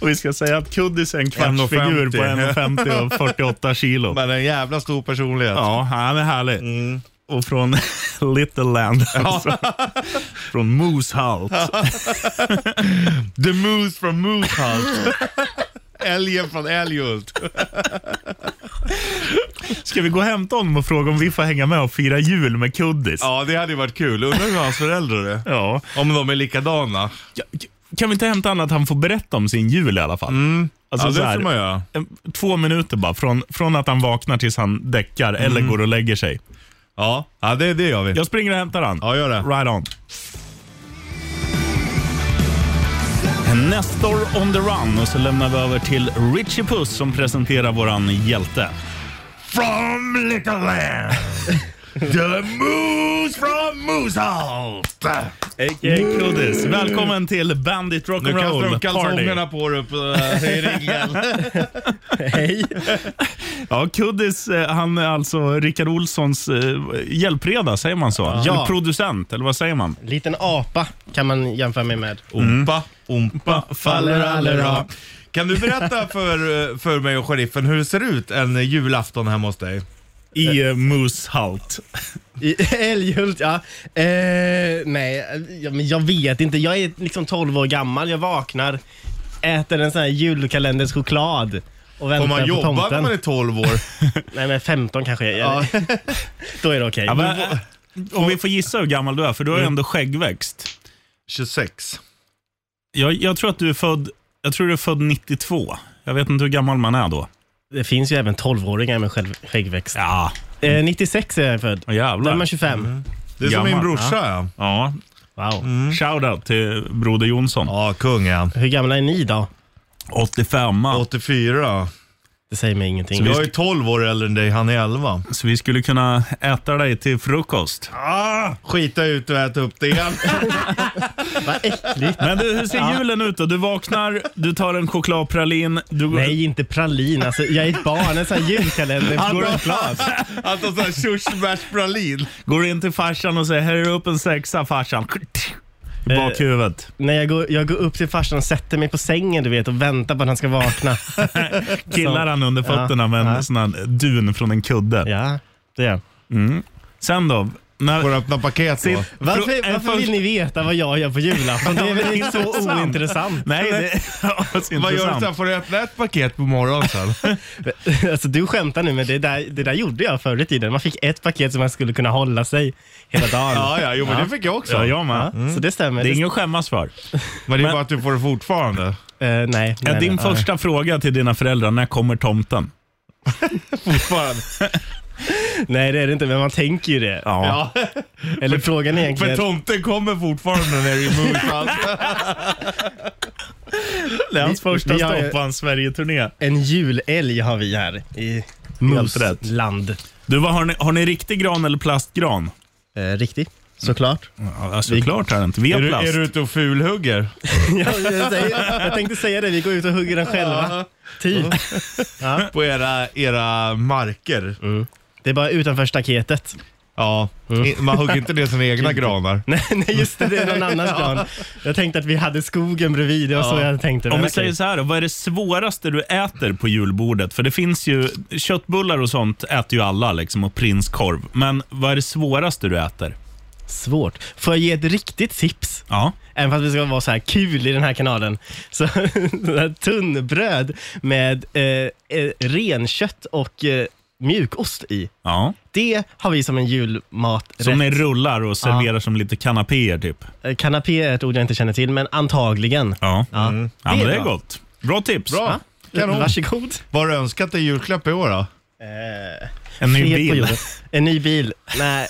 Och vi ska säga att Kuddis är en kvartsfigur på 1,50 och 48 kilo.
Men en jävla stor personlighet. Mm.
Ja, han är härlig. Och från Little Land alltså. Från Moosehout.
The Moose from Moosehult. Älgen från Älghult.
Ska vi gå och hämta honom och fråga om vi får hänga med och fira jul med Kuddis?
Ja, det hade ju varit kul. Undrar hur hans föräldrar är.
Ja.
Om de är likadana.
Ja, Kan vi inte hämta honom att han får berätta om sin jul i alla fall? Alltså
Mm. Ja, det
så här,
får man göra.
en- Två minuter bara, från, från att han vaknar tills han däckar eller
Mm.
går och lägger sig.
Ja, ja det, det gör vi.
Jag springer och hämtar han.
Ja, gör det.
Right on. Nestor on the run och så lämnar vi över till Richie Puss som presenterar våran hjälte.
From Little Land, the moose from Moosehalt!
A.k.a. Kuddis. Välkommen till Bandit
Nu kastar de
Rock'n'Roll
kalsongerna
Party.
på dig upp eh, i ringen.
Hej.
Ja, Kuddis, eh, han är alltså Rickard Olssons eh, hjälpreda, säger man så?
Ja.
Eller producent, eller vad säger man?
Liten apa kan man jämföra mig med.
Ompa, ompa, faller allera. Kan du berätta för, eh, för mig och sheriffen hur det ser ut en julafton hemma hos dig?
I eh, Moosehout.
I Älghult, ja. Eh, nej, ja, men jag vet inte. Jag är liksom 12 år gammal. Jag vaknar, äter en sån här julkalenders choklad och väntar
Får man
på
jobba
tomten.
när man är 12 år?
Nej, men 15 kanske jag är. Då är det okej.
Ja, men, eh, om vi får gissa hur gammal du är, för du har ju ändå skäggväxt.
26.
Jag, jag tror att du är född, jag tror du är född 92. Jag vet inte hur gammal man är då.
Det finns ju även 12-åringar med själv- skäggväxt.
Ja,
Eh, 96 är jag född.
åh,
Då är
jävlar.
man 25.
Det är som
Gammal,
min brorsa ja.
Ja.
Wow.
Mm.
Shoutout till Broder Jonsson.
Ja, kung är han.
Hur gamla är ni då?
85
84.
Det säger mig ingenting.
Jag är 12 år äldre än dig, han är 11.
Så vi skulle kunna äta dig till frukost.
Skita ut och äta upp det igen.
Vad äckligt.
Men du, hur ser julen ut då? Du vaknar, du tar en chokladpralin, du går...
Nej, inte pralin. Alltså, jag är ett barn. En sån här julkalender. Går och glas.
Han tar sån här körsbärspralin.
Går in till farsan och säger här är upp en sexa farsan. Eh, I bakhuvudet.
Nej, jag går, jag går upp till farsan och sätter mig på sängen du vet och väntar på att han ska vakna.
Killar han under fötterna med en
Ja.
sån här dun från en kudde.
ja, det gör jag.
Sen då?
Får öppna paket då?
Varför, varför vill ni veta vad jag gör på julafton? Det är väl inte så ointressant?
Nej, det
Vad gör du sen? Får du öppna ett paket på morgonen sen?
Alltså, du skämtar nu, men det där, det där gjorde jag förr i tiden. Man fick ett paket som man skulle kunna hålla sig hela dagen.
Ja, ja, jo, men det fick jag också.
Ja, jag med.
Mm.
Så det stämmer.
Det är
Det-
inget
att skämmas för.
Men det är bara att du får det fortfarande.
eh, nej,
Ja, din första fråga till dina föräldrar, när kommer tomten?
Fortfarande. Nej, det är det inte, men man tänker ju det.
Ja.
Eller frågan är
För
egentligen...
tomten kommer fortfarande när det är mood.
Det är hans
Vi-
första
vi har ju-
stopp på hans Sverige-turné.
En julälg har vi här i Musland.
Du, vad har ni, har ni riktig gran eller plastgran?
Eh, riktig, såklart.
Ja, såklart är det inte. Vi har
Är du,
plast.
är du ute och fulhugger?
Ja, jag, säger, jag tänkte säga det, vi går ut och hugger den själva. Typ.
På era, era marker?
Det är bara utanför staketet.
Ja, I- man hugger inte ner sina egna granar.
Nej, nej, just det, det är någon annans gran. Jag tänkte att vi hade skogen bredvid, det var så jag tänkte. men
Om vi
okej.
säger så här, då, vad är det svåraste du äter på julbordet? För det finns ju, köttbullar och sånt äter ju alla liksom och prinskorv. Men vad är det svåraste du äter?
Svårt. Får jag ge ett riktigt tips?
Ja.
Även fast vi ska vara så här kul i den här kanalen. Så så här tunnbröd med eh, eh, renkött och eh, mjukost i.
Ja.
Det har vi som en julmaträtt.
Som ni rullar och serverar som lite kanapéer typ.
Eh, Kanapé är ett ord jag inte känner till, men antagligen.
Ja,
Mm.
ja men det är
bra.
gott. Bra tips.
Bra. Kanon.
Varsågod.
Vad har du önskat dig i julklapp i år då?
En ny
Fred på
bil.
jorden. En ny bil. Nej.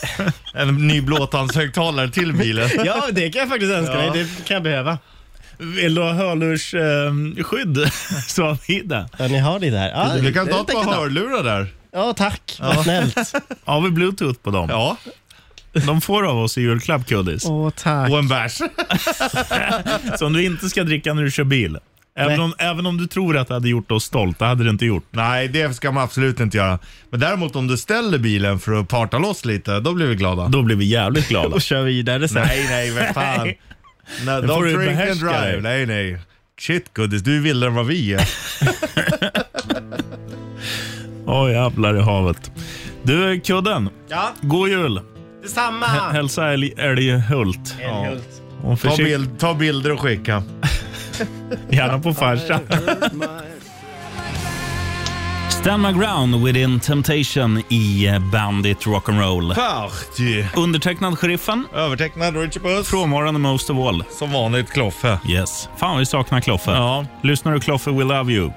En ny blåtandshögtalare till bilen.
Ja, det kan jag faktiskt önska mig. Det kan jag behöva.
Vill du ha hörlursskydd så har vi det.
Ja, ni har det där. Ja,
Du kan
det
ta ett
tänker
par
jag ta.
hörlurar där.
Ja, tack. Vad snällt.
Har vi bluetooth på dem?
Ja.
De får av oss i julklapp, kuddis.
Åh, tack.
Och en bärs.
Som du inte ska dricka när du kör bil. Även om, även om du tror att det hade gjort oss stolta, hade det inte gjort.
Nej, det ska man absolut inte göra. Men däremot om du ställer bilen för att parta loss lite, då blir vi glada.
Då blir vi jävligt glada.
Och kör vidare sen.
Nej, nej, vad fan.
Nej.
Nej,
Det får
don't
du
drink and
behärska
drive.
dig.
Nej, nej. Shit Goodies, du är vildare än vad vi är.
Åh jävlar i havet. Du, kudden.
Ja,
God jul.
detsamma.
H- hälsa Älg- Älghult.
Älghult.
Och
Ta,
försikt,
bild, ta bilder och skicka.
gärna på farsan. Stand my ground within temptation i eh, Bandit Rock'n'Roll.
Party.
Undertecknad sheriffen.
Övertecknad Richard Puss.
Frånvarande most of all.
Som vanligt Kloffe.
Yes. Fan, vi saknar Kloffe.
Ja.
Lyssnar du Kloffe, we love you.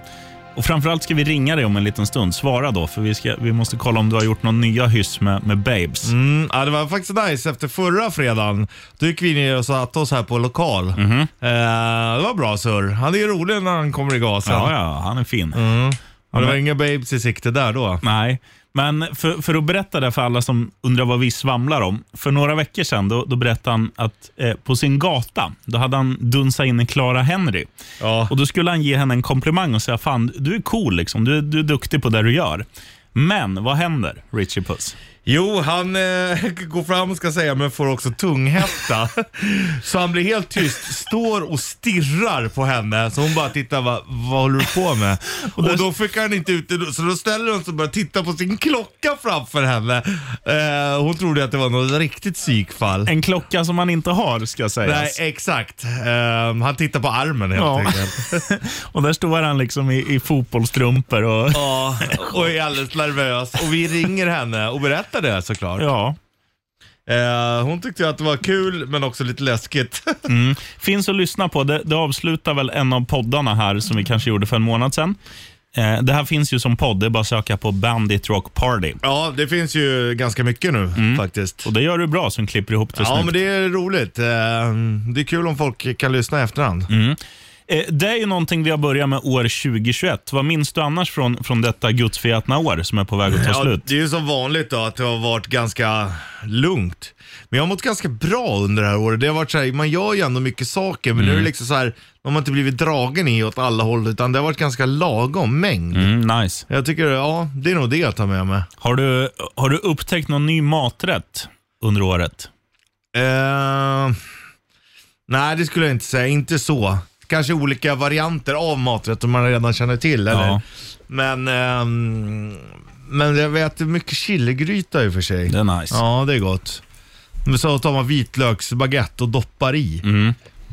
Och framförallt ska vi ringa dig om en liten stund. Svara då, för vi, ska, vi måste kolla om du har gjort någon nya hyss med, med babes.
Mm, ja, det var faktiskt nice. Efter förra fredagen, då gick vi ner och satte oss här på lokal.
Mhm.
Eh, det var bra surr. Han är rolig när han kommer i gasen.
Ja, ja, han är fin.
Mm. Och det var inga babes i sikte där då.
Nej, men för, för att berätta det för alla som undrar vad vi svamlar om. För några veckor sedan då, då berättade han att eh, på sin gata, då hade han dunsat in en Clara Henry.
Ja.
Och Då skulle han ge henne en komplimang och säga fan du är cool, liksom. du, är- du är duktig på det du gör. Men vad händer, Richie Puss?
Jo, han eh, går fram och ska säga men får också tunghäfta. så han blir helt tyst, står och stirrar på henne. Så hon bara tittar, va, vad håller du på med? Och, då fick han inte ut det, så då ställer hon sig och börjar titta på sin klocka framför henne. Eh, hon trodde att det var något riktigt psykfall.
En klocka som man inte har ska
Nej,
sägas.
exakt. Ehm, han tittar på armen helt
Ja.
enkelt.
Och där står han liksom i, i fotbollstrumpor och
Ja, och är alldeles nervös. Och vi ringer henne och berättar det såklart.
ja.
Eh, hon tyckte att det var kul men också lite läskigt.
finns att lyssna på. Det, det avslutar väl en av poddarna här som vi kanske gjorde för en månad sedan. Eh, det här finns ju som podd. Det är bara att söka på Bandit Rock Party.
ja, det finns ju ganska mycket nu faktiskt.
Mm. Och Det gör du bra som klipper ihop det
Ja,
snyggt.
men det är roligt. Ehm, det är kul om folk kan lyssna i efterhand.
Eh, det är ju någonting vi har börjat med år 2021. Vad minns du annars från, från detta gudsförgätna år som är på väg att ta
Ja,
slut?
det är ju som vanligt då att det har varit ganska lugnt. Men jag har mått ganska bra under det här året. Det har varit så här, man gör ju ändå mycket saker men
Mm.
nu är det liksom så här, man har inte blivit dragen i åt alla håll utan det har varit ganska lagom mängd.
Mm, nice.
Jag tycker, ja, det är nog det jag tar med mig.
Har du, har du upptäckt någon ny maträtt under året?
Eh, nej, det skulle jag inte säga. Inte så. Kanske olika varianter av maträtter man redan känner till. Eller?
Ja.
Men, ehm, men jag vet mycket chiligryta i och för sig.
Det är nice.
Ja, det är gott. Men så tar man vitlöksbaguette och doppar i.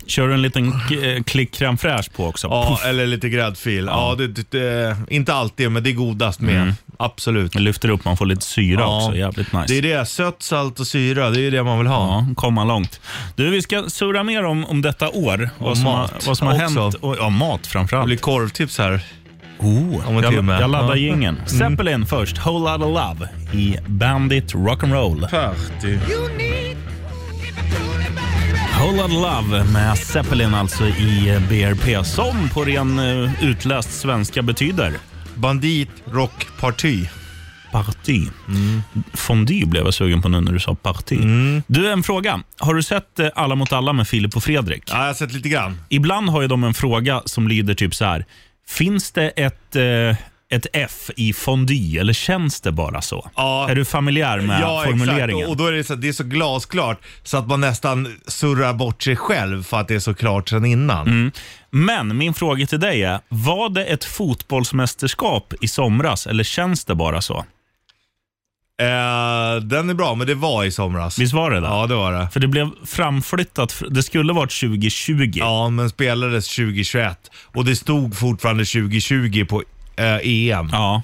Kör du en liten k- eh, klick crème fraîche på också?
Ja,
Puff.
eller lite gräddfil. Ja, det, det, det, inte alltid, men det är godast med.
Mm.
Absolut.
lyfter upp, man får lite syra
Ja.
också. Jävligt nice.
Det är det, sött, salt och syra. Det är ju det man vill ha.
Ja, komma långt. Du, vi ska surra mer om, om detta år. Vad som, har,
mat
vad som har
också.
hänt. Och, ja, mat framförallt. Det blir
korvtips här.
Oh,
Om en
jag,
timme.
jag laddar
Ja.
jingeln.
Mm.
Zeppelin först, Whole Lotta Love i Bandit Rock'n'Roll.
Party.
Whole Lotta Love med Zeppelin alltså i eh, BRP, som på ren eh, utläst svenska betyder.
Bandit Rock Party.
Party.
Mm.
Fondue blev jag sugen på nu när du sa party. Du, en fråga. Har du sett eh, Alla mot alla med Filip och Fredrik?
Ja, jag har sett lite grann.
Ibland har ju de en fråga som lyder typ så här. Finns det ett, eh, ett F i fondue eller känns det bara så? Är du familjär med
ja,
formuleringen?
Exakt. Och då är det, så, det är så glasklart så att man nästan surrar bort sig själv för att det är så klart sedan innan.
Mm. Men min fråga till dig är, var det ett fotbollsmästerskap i somras eller känns det bara så?
Eh, den är bra, men det var i somras.
Visst var det det?
Ja, det var det.
För det blev framflyttat, fr- det skulle varit 2020.
Ja, men spelades 2021 och det stod fortfarande 2020 på eh, EM.
Ja.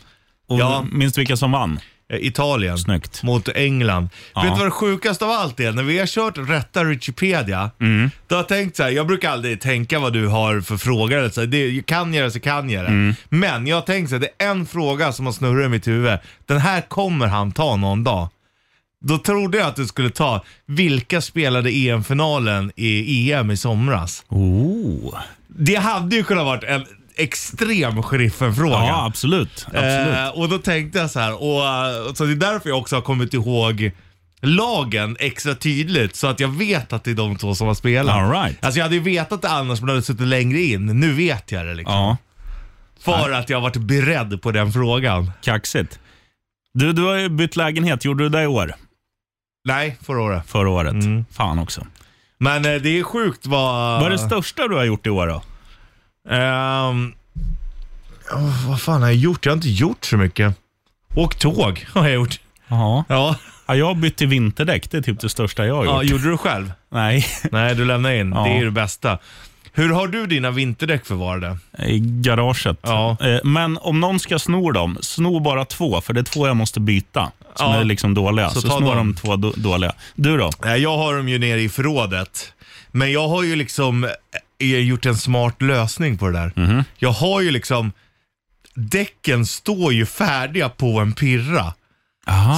Och
ja.
Minns du vilka som vann?
Eh, Italien
Snyggt.
mot England.
Ja.
Vet du vad det sjukaste av allt är? När vi har kört rätta Wikipedia,
Mm.
då har jag tänkt så här, jag brukar aldrig tänka vad du har för frågor. eller Så här, det, kan jag det så kan jag det.
Mm.
Men jag har tänkt så här, det är en fråga som har snurrat i mitt huvud. Den här kommer han ta någon dag. Då trodde jag att du skulle ta, vilka spelade EM-finalen i EM i somras?
Oh.
Det hade ju kunnat varit en extrem sheriffen-fråga.
Ja, absolut. absolut.
Eh, och då tänkte jag så här, och, eh, så det är därför jag också har kommit ihåg lagen extra tydligt så att jag vet att det är de två som har spelat.
All right.
Alltså jag hade ju vetat det annars men jag hade suttit längre in. Nu vet jag det liksom.
Ja.
För att jag har varit beredd på den frågan.
Kaxigt. Du, du har ju bytt lägenhet. Gjorde du det i år?
Nej, förra året.
Förra året.
Mm.
Fan också.
Men eh, det är sjukt vad...
Vad är det största du har gjort i år då?
Ehm, åh, vad fan har jag gjort? Jag har inte gjort så mycket. Åkt tåg har jag gjort.
Ja.
Ja.
ja jag har bytt till vinterdäck. Det är typ det största jag har gjort.
ja gjorde du själv?
Nej.
Nej, du lämnar in.
Ja.
Det är ju det bästa. Hur har du dina vinterdäck förvarade?
I garaget.
Ja.
Eh, Men om någon ska sno dem, sno bara två, för det är två jag måste byta som
Ja.
är liksom dåliga.
Så
Så,
ta
snor
dem.
de två då- dåliga. Du då?
Nej, Jag har dem ju nere i förrådet. Men jag har ju liksom eh, gjort en smart lösning på det där. Jag har ju liksom, däcken står ju färdiga på en pirra.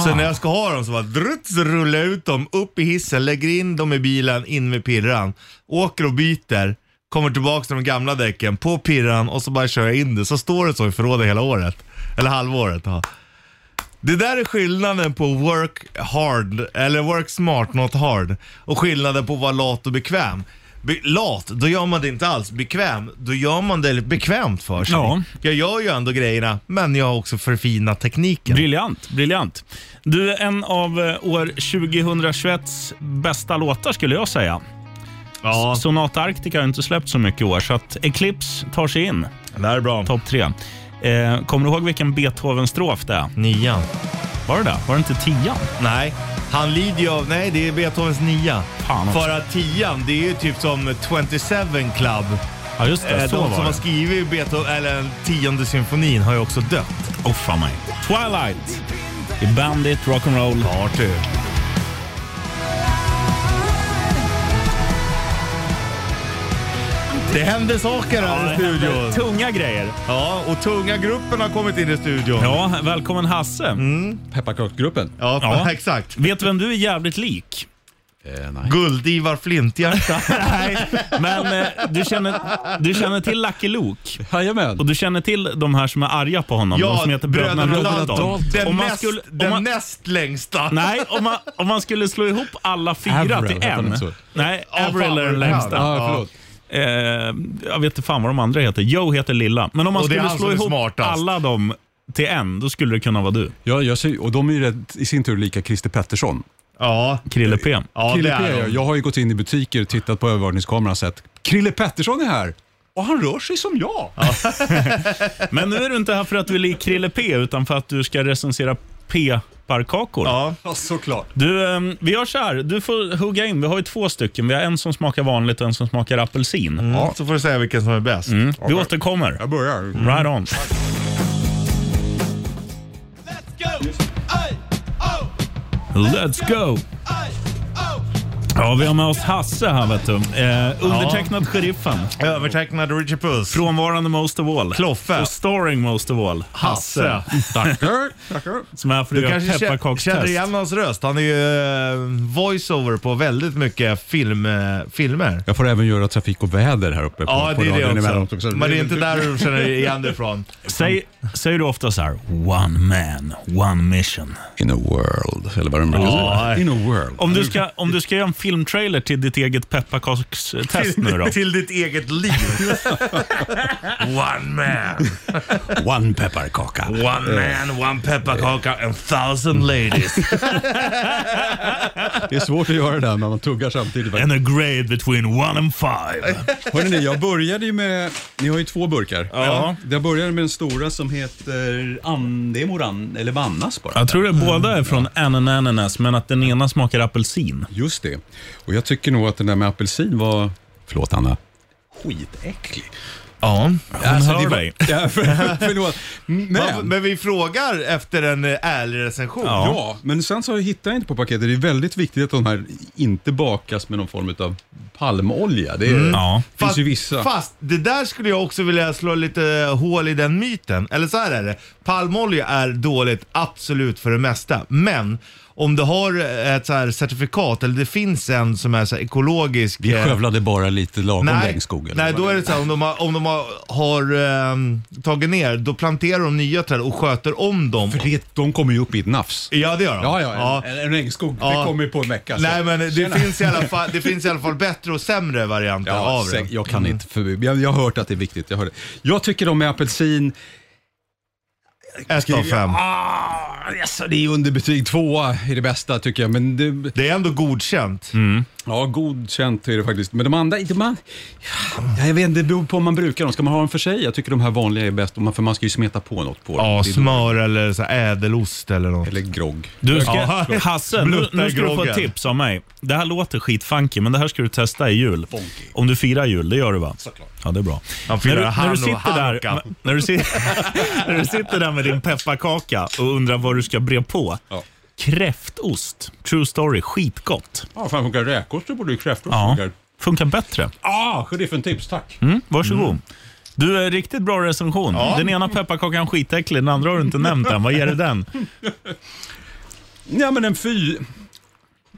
Så när jag ska ha dem så bara drutt, så rullar jag ut dem, upp i hissen, lägger in dem i bilen, in med pirran. Åker och byter, kommer tillbaka till de gamla däcken, på pirran och så bara kör jag in det. Så står det så i förrådet hela året. Eller halvåret. Ja. Det där är skillnaden på work hard, eller work smart not hard. Och skillnaden på att vara lat och bekväm. Be- lat, då gör man det inte alls. Bekväm, då gör man det bekvämt för sig.
Ja.
Jag gör ju ändå grejerna, men jag har också förfinat tekniken.
Briljant, briljant. Du, en av eh, år 2021 s bästa låtar skulle jag säga.
Ja.
S- Sonata Arctica har inte släppt så mycket i år, så att Eclipse tar sig in.
Det här är bra.
Topp tre. Eh, kommer du ihåg vilken Beethoven-strof det är?
Nian.
Var det det? Var det inte tian?
Nej, han lider ju av... Nej, det är Beethovens nia.
Fan också.
För att tian, det är ju typ som 27 Club.
Ja, just
Eh,
det.
De
Så
som
var
har
det.
skrivit Beethoven, eller tionde symfonin har ju också dött.
Åh, fan mig. Twilight i Bandit Rock'n'Roll.
Party. Det händer saker här i studion.
Tunga grejer.
Ja, och tunga gruppen har kommit in i studion.
Ja, välkommen Hasse.
Mm.
Pepparkaksgruppen.
Ja,
Ja.
exakt.
Vet du vem du är jävligt lik?
Eh, nej.
Guld-Ivar Flinthjärta.
Nej, men eh, du känner, du känner till Lucky Luke
Jajamän.
och du känner till de här som är arga på honom. de som heter Bröderna Dalton.
Den,
Om man
näst,
skulle- om
den
man-
näst längsta.
Nej, om man, om man skulle slå ihop alla fyra
Averill,
till
heter
en.
de så?
Nej,
Ja, fan,
Averill är
vad
den
det här.
längsta.
Ja, förlåt.
Eh, jag vet inte fan vad de andra heter. Joe heter Lilla. Men om man
Och det
skulle
är han
slå
som är
ihop
smartast.
alla dem till en, då skulle det kunna vara du.
Ja, jag ser, och de är ju rätt, i sin tur lika Christer Pettersson.
Ja,
Krille P.
ja
Krille
det
P,
är
jag,
de.
jag har ju gått in i butiker, tittat på övervakningskameran och sett Krille Pettersson är här och han rör sig som jag.
Men nu är du inte här för att du är lik Krille P, utan för att du ska recensera P-parkakor.
Ja.
såklart.
Du, ehm, vi gör så här. Du får hugga in. Vi har ju två stycken. Vi har en som smakar vanligt och en som smakar apelsin.
Ja. Så får du säga vilken som är bäst. Mm.
Mm. Vi återkommer.
Jag börjar.
Right on. Let's go! oh. Ja, vi har med oss Hasse här vet du. Eh, undertecknad Sheriffen.
Övertecknad Richie Puss.
Frånvarande Most of All.
Kloffe.
Och starring Most of All. Hasse.
Tackar,
Som är här för att
Du
göra
kanske kä-
pepparkakstest.
känner igen hans röst. Han är ju eh, voiceover på väldigt mycket film, eh, filmer.
Jag får även göra trafik och väder här uppe.
Ja,
på,
det
på
är
radion
det
emellanåt
också. Men det är inte där du känner igen det ifrån.
Säg, säger du ofta så här, one man, one mission.
In a world, eller vad det brukar
Ja.
säga. In a world.
Om du, ska, om du ska göra en filmtrailer till ditt eget pepparkakstest nu då?
Till ditt eget liv. One man.
One pepparkaka.
One man, one pepparkaka, and thousand ladies.
Det är svårt att göra det där när man tuggar samtidigt.
And a grade between one and five.
Hörrni, jag började ju med... Ni har ju två burkar.
Ja.
Jag började med den stora som heter Andemoran, eller Vannas bara.
Jag tror det båda är från Anananas, men att den ena smakar apelsin.
Just det. Och jag tycker nog att den där med apelsin var... Förlåt Anna. Skitäcklig.
Ja, hon
hör dig.
Ja, för, förlåt.
Men,
Men...
men vi frågar efter en eh, ärlig recension.
Ja, men sen så hittar jag inte på paketet. Det är väldigt viktigt att de här inte bakas med någon form av palmolja. Det är,
Ja.
finns ju vissa.
Fast det där skulle jag också vilja slå lite eh, hål i den myten. Eller så här är det. Palmolja är dåligt absolut för det mesta. Men om du har eh, ett så här certifikat eller det finns en som är så här ekologisk. eh,
bara lite lagom
nej då är det så här, om de har, om de har, har ehm, tagit ner, då planterar de nya träd och sköter om dem.
För det, de kommer ju upp i ett nafs.
Ja det gör de.
Ja, ja, en, en regnskog.
Ja.
Det kommer ju på en vecka. så.
Nej men
Tjena.
det finns, i alla fall, det finns i alla fall bättre och sämre varianter
Ja,
av det.
säk- jag Mm. kan inte förbi. Jag, jag har hört att det är viktigt. Jag, hörde. jag tycker de med apelsin...
Ett av fem.
Ah, yes, det är underbetyg. Tvåa är det bästa tycker jag. Men det,
Det är ändå godkänt.
Mm. ja, godkänt är det faktiskt. Men de andra, inte man, ja, jag vet inte, det beror på om man brukar dem. Ska man ha dem för sig? Jag tycker de här vanliga är bäst, om man- för man ska ju smeta på något på dem.
Ja,
Det är
smör eller så här ädelost eller något.
Eller grogg.
Du ska,
Ja.
Hasse, nu,
Blutta
nu ska du få
groggen.
ett tips av mig. Det här låter skitfunky, men det här ska du testa i jul. Om du firar jul, det gör du va? Såklart. Ja, det är bra.
Han firar
när, du,
han
när, du
och
sitter
hanka.
där, när, du, sit- när du sitter där med din pepparkaka och undrar vad du ska bre på.
Ja.
Kräftost. True story. Skitgott.
Ja, fan funkar räkost så borde ju kräftor
Ja.
funka.
Funkar bättre.
Ah, sheriffen tips, tack.
Mm, varsågod. Du, är riktigt bra recension. Den ena pepparkakan är skitäcklig, den andra har du inte nämnt än. Vad ger du den?
Ja, men en fy...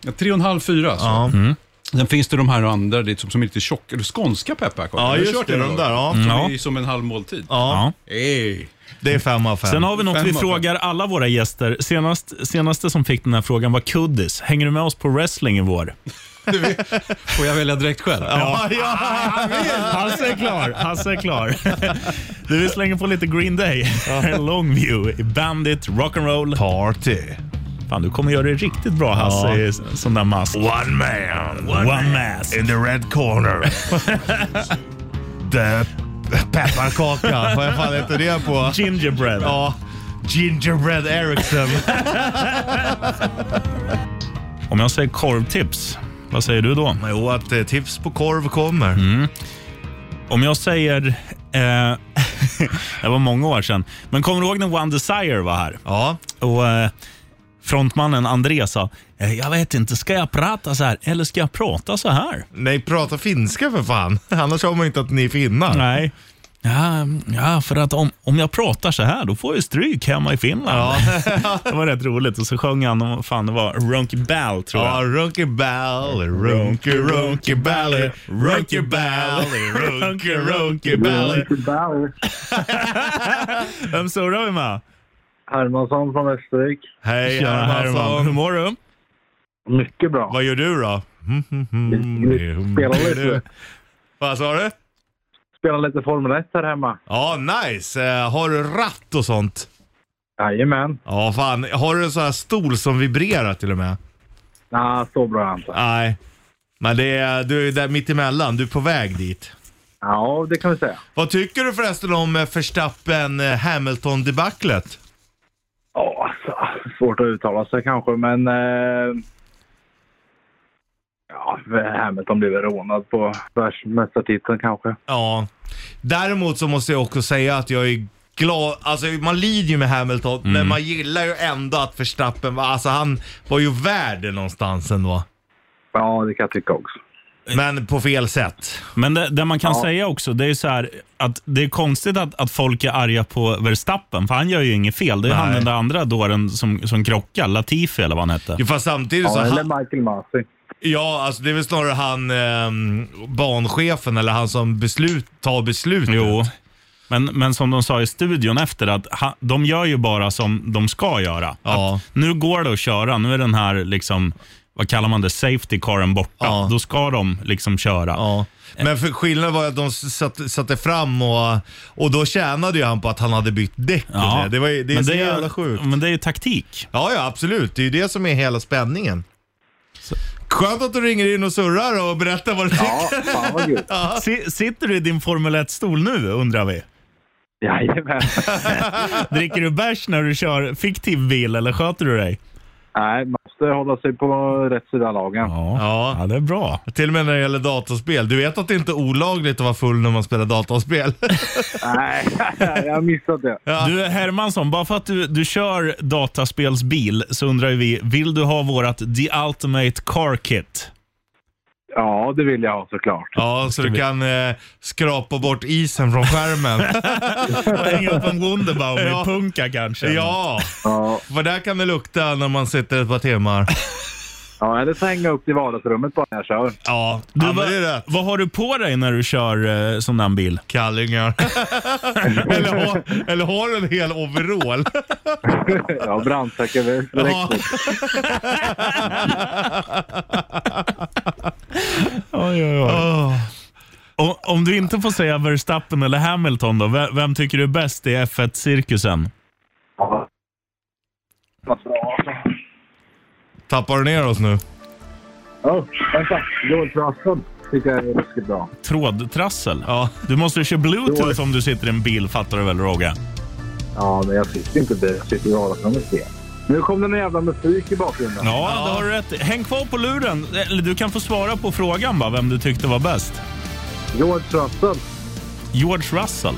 Ja, Tre och en halv, fyra alltså.
Mm.
Sen finns det de här andra det är som, som är lite tjockare, skånska pepparkakor.
Ja,
Har du
just
kört
det,
någon
de
gång?
där, ja.
Som
Ja.
är som en halv måltid.
Ja,
Ey.
det är fem av fem.
Sen har vi något
Fem
vi
av fem.
frågar alla våra gäster. Senast, senaste som fick den här frågan var Kuddis. Hänger du med oss på wrestling i vår?
Får jag välja direkt själv?
ja, ja.
Hasse är klar. Hasse är klar. Du, vi slänger på lite Green Day. Longview i Bandit Rock'n'Roll.
Party.
Fan, du kommer göra det riktigt bra Hasse
Ja.
i sån där mask.
One man, one,
One
man
mask.
in the red corner.
The pepparkaka. Vad fan heter det på?
Gingerbread.
Ja. Gingerbread Ericsson.
Om jag säger korvtips, vad säger du då?
jo, att eh, tips på korv kommer.
Mm. Om jag säger... Eh, det var många år sedan. Men kommer du ihåg när One Desire var här?
Ja.
Och eh, Frontmannen André sa, eh, jag vet inte, ska jag prata så här eller ska jag prata så här?
Nej, prata finska för fan. Annars har man inte att ni är finnar.
Nej. Ja, ja, för att om, om jag pratar så här, då får jag stryk hemma i Finland. det var rätt roligt. Och så sjöng han, om- fan det var Ronky Bell tror jag.
Ja, Runky Bally, Runky Runky Bally, Runky Bally, Runky Runky Bally.
Vem surrar vi med?
Hermansson från Västervik.
Hej
Tjena Herman, hur
Hermansson.
mår du?
Mycket bra.
Vad gör du då?
Spelar lite,
Vad sa du?
spelar lite Formel 1 här hemma.
Ja, nice. Eh, Har du ratt och sånt?
Jajamän.
Ja, fan. Har du en sån här stol som vibrerar till och med?
Ja, så bra är jag inte.
Nej. Men det är, du är där mitt emellan. Du är på väg dit.
Ja, det kan vi säga.
Vad tycker du förresten om eh, Verstappen eh, Hamilton debaclet?
Ja, alltså.
svårt att uttala sig kanske, men... Eh, ja, Hamilton blev väl rånad på världsmästartiteln kanske.
Ja. Däremot så måste jag också säga att jag är glad. Alltså man lider ju med Hamilton, men man gillar ju ändå att Verstappen var, alltså han var ju värd det någonstans ändå.
Ja, det kan jag tycka också.
Men på fel sätt.
Men det, det man kan
Ja.
säga också, det är ju så här att det är konstigt att, att folk är arga på Verstappen, för han gör ju inget fel. Det är ju han
Nej.
den där andra dåren som, som krockar, Latifi eller vad han hette.
Jo, fast samtidigt så...
Ja, eller
Michael Masi.
Ja, alltså det är väl snarare han ehm, banchefen eller han som beslut, tar beslutet.
Jo. Men, men som de sa i studion efter, att ha, de gör ju bara som de ska göra. Att nu går det att köra. Nu är den här, liksom, vad kallar man det, safety caren borta. Då ska de liksom köra.
Men för skillnaden var ju att de satte, satte fram och, och då tjänade ju han på att han hade bytt däck. och
Ja.
Det. Det, var, ju- det är
Men
så
det är-
jävla sjukt.
Men det är ju taktik.
Ja, ja absolut. Det är ju det som är hela spänningen. Skönt att du ringer in och surrar och berättar vad du tycker.
Fan vad gud.
Si- Sitter du i din Formel 1-stol nu, undrar vi?
Jajamän.
Dricker du bärs när du kör fiktiv bil eller sköter du dig?
Nej, man måste hålla sig på rätt sida lagen.
Ja. det är bra.
Till och med när det gäller dataspel. Du vet att det inte är olagligt att vara full när man spelar dataspel?
Nej, jag har missat det.
Du Hermansson, bara för att du, du kör dataspelsbil så undrar ju vi, vill du ha vårat The Ultimate Car Kit?
Ja, det vill jag ha såklart.
Ja, så du kan eh, skrapa bort isen från skärmen.
Och hänga upp en Wunderbaum
Ja.
i punka kanske?
ja, för där kan det lukta när man sitter ett par timmar.
Ja, eller så hänga upp i vardagsrummet bara när jag kör.
Ja,
Du, vad, vad har du på dig när du kör eh, sån där bil?
Kallingar. eller, har, eller har du en hel overall?
ja, brandsäker direkt.
Ja.
Oj, oj, oj. Och, om du inte får säga Verstappen eller Hamilton, då, vem, vem tycker du är bäst i F1-cirkusen?
Tappar du ner oss nu?
Ja, vänta. Joel tycker jag är ruskigt bra.
Trådtrassel? Ja. Du måste ju köra bluetooth om du sitter i en bil, fattar du väl Roger?
Ja, men jag sitter inte där. Jag sitter i vardagsrummet igen. Nu kom det någon jävla musik i bakgrunden.
Ja, det har du rätt i. Häng kvar på luren. Eller du kan få svara på frågan bara, vem du tyckte var bäst.
George Russell.
George Russell?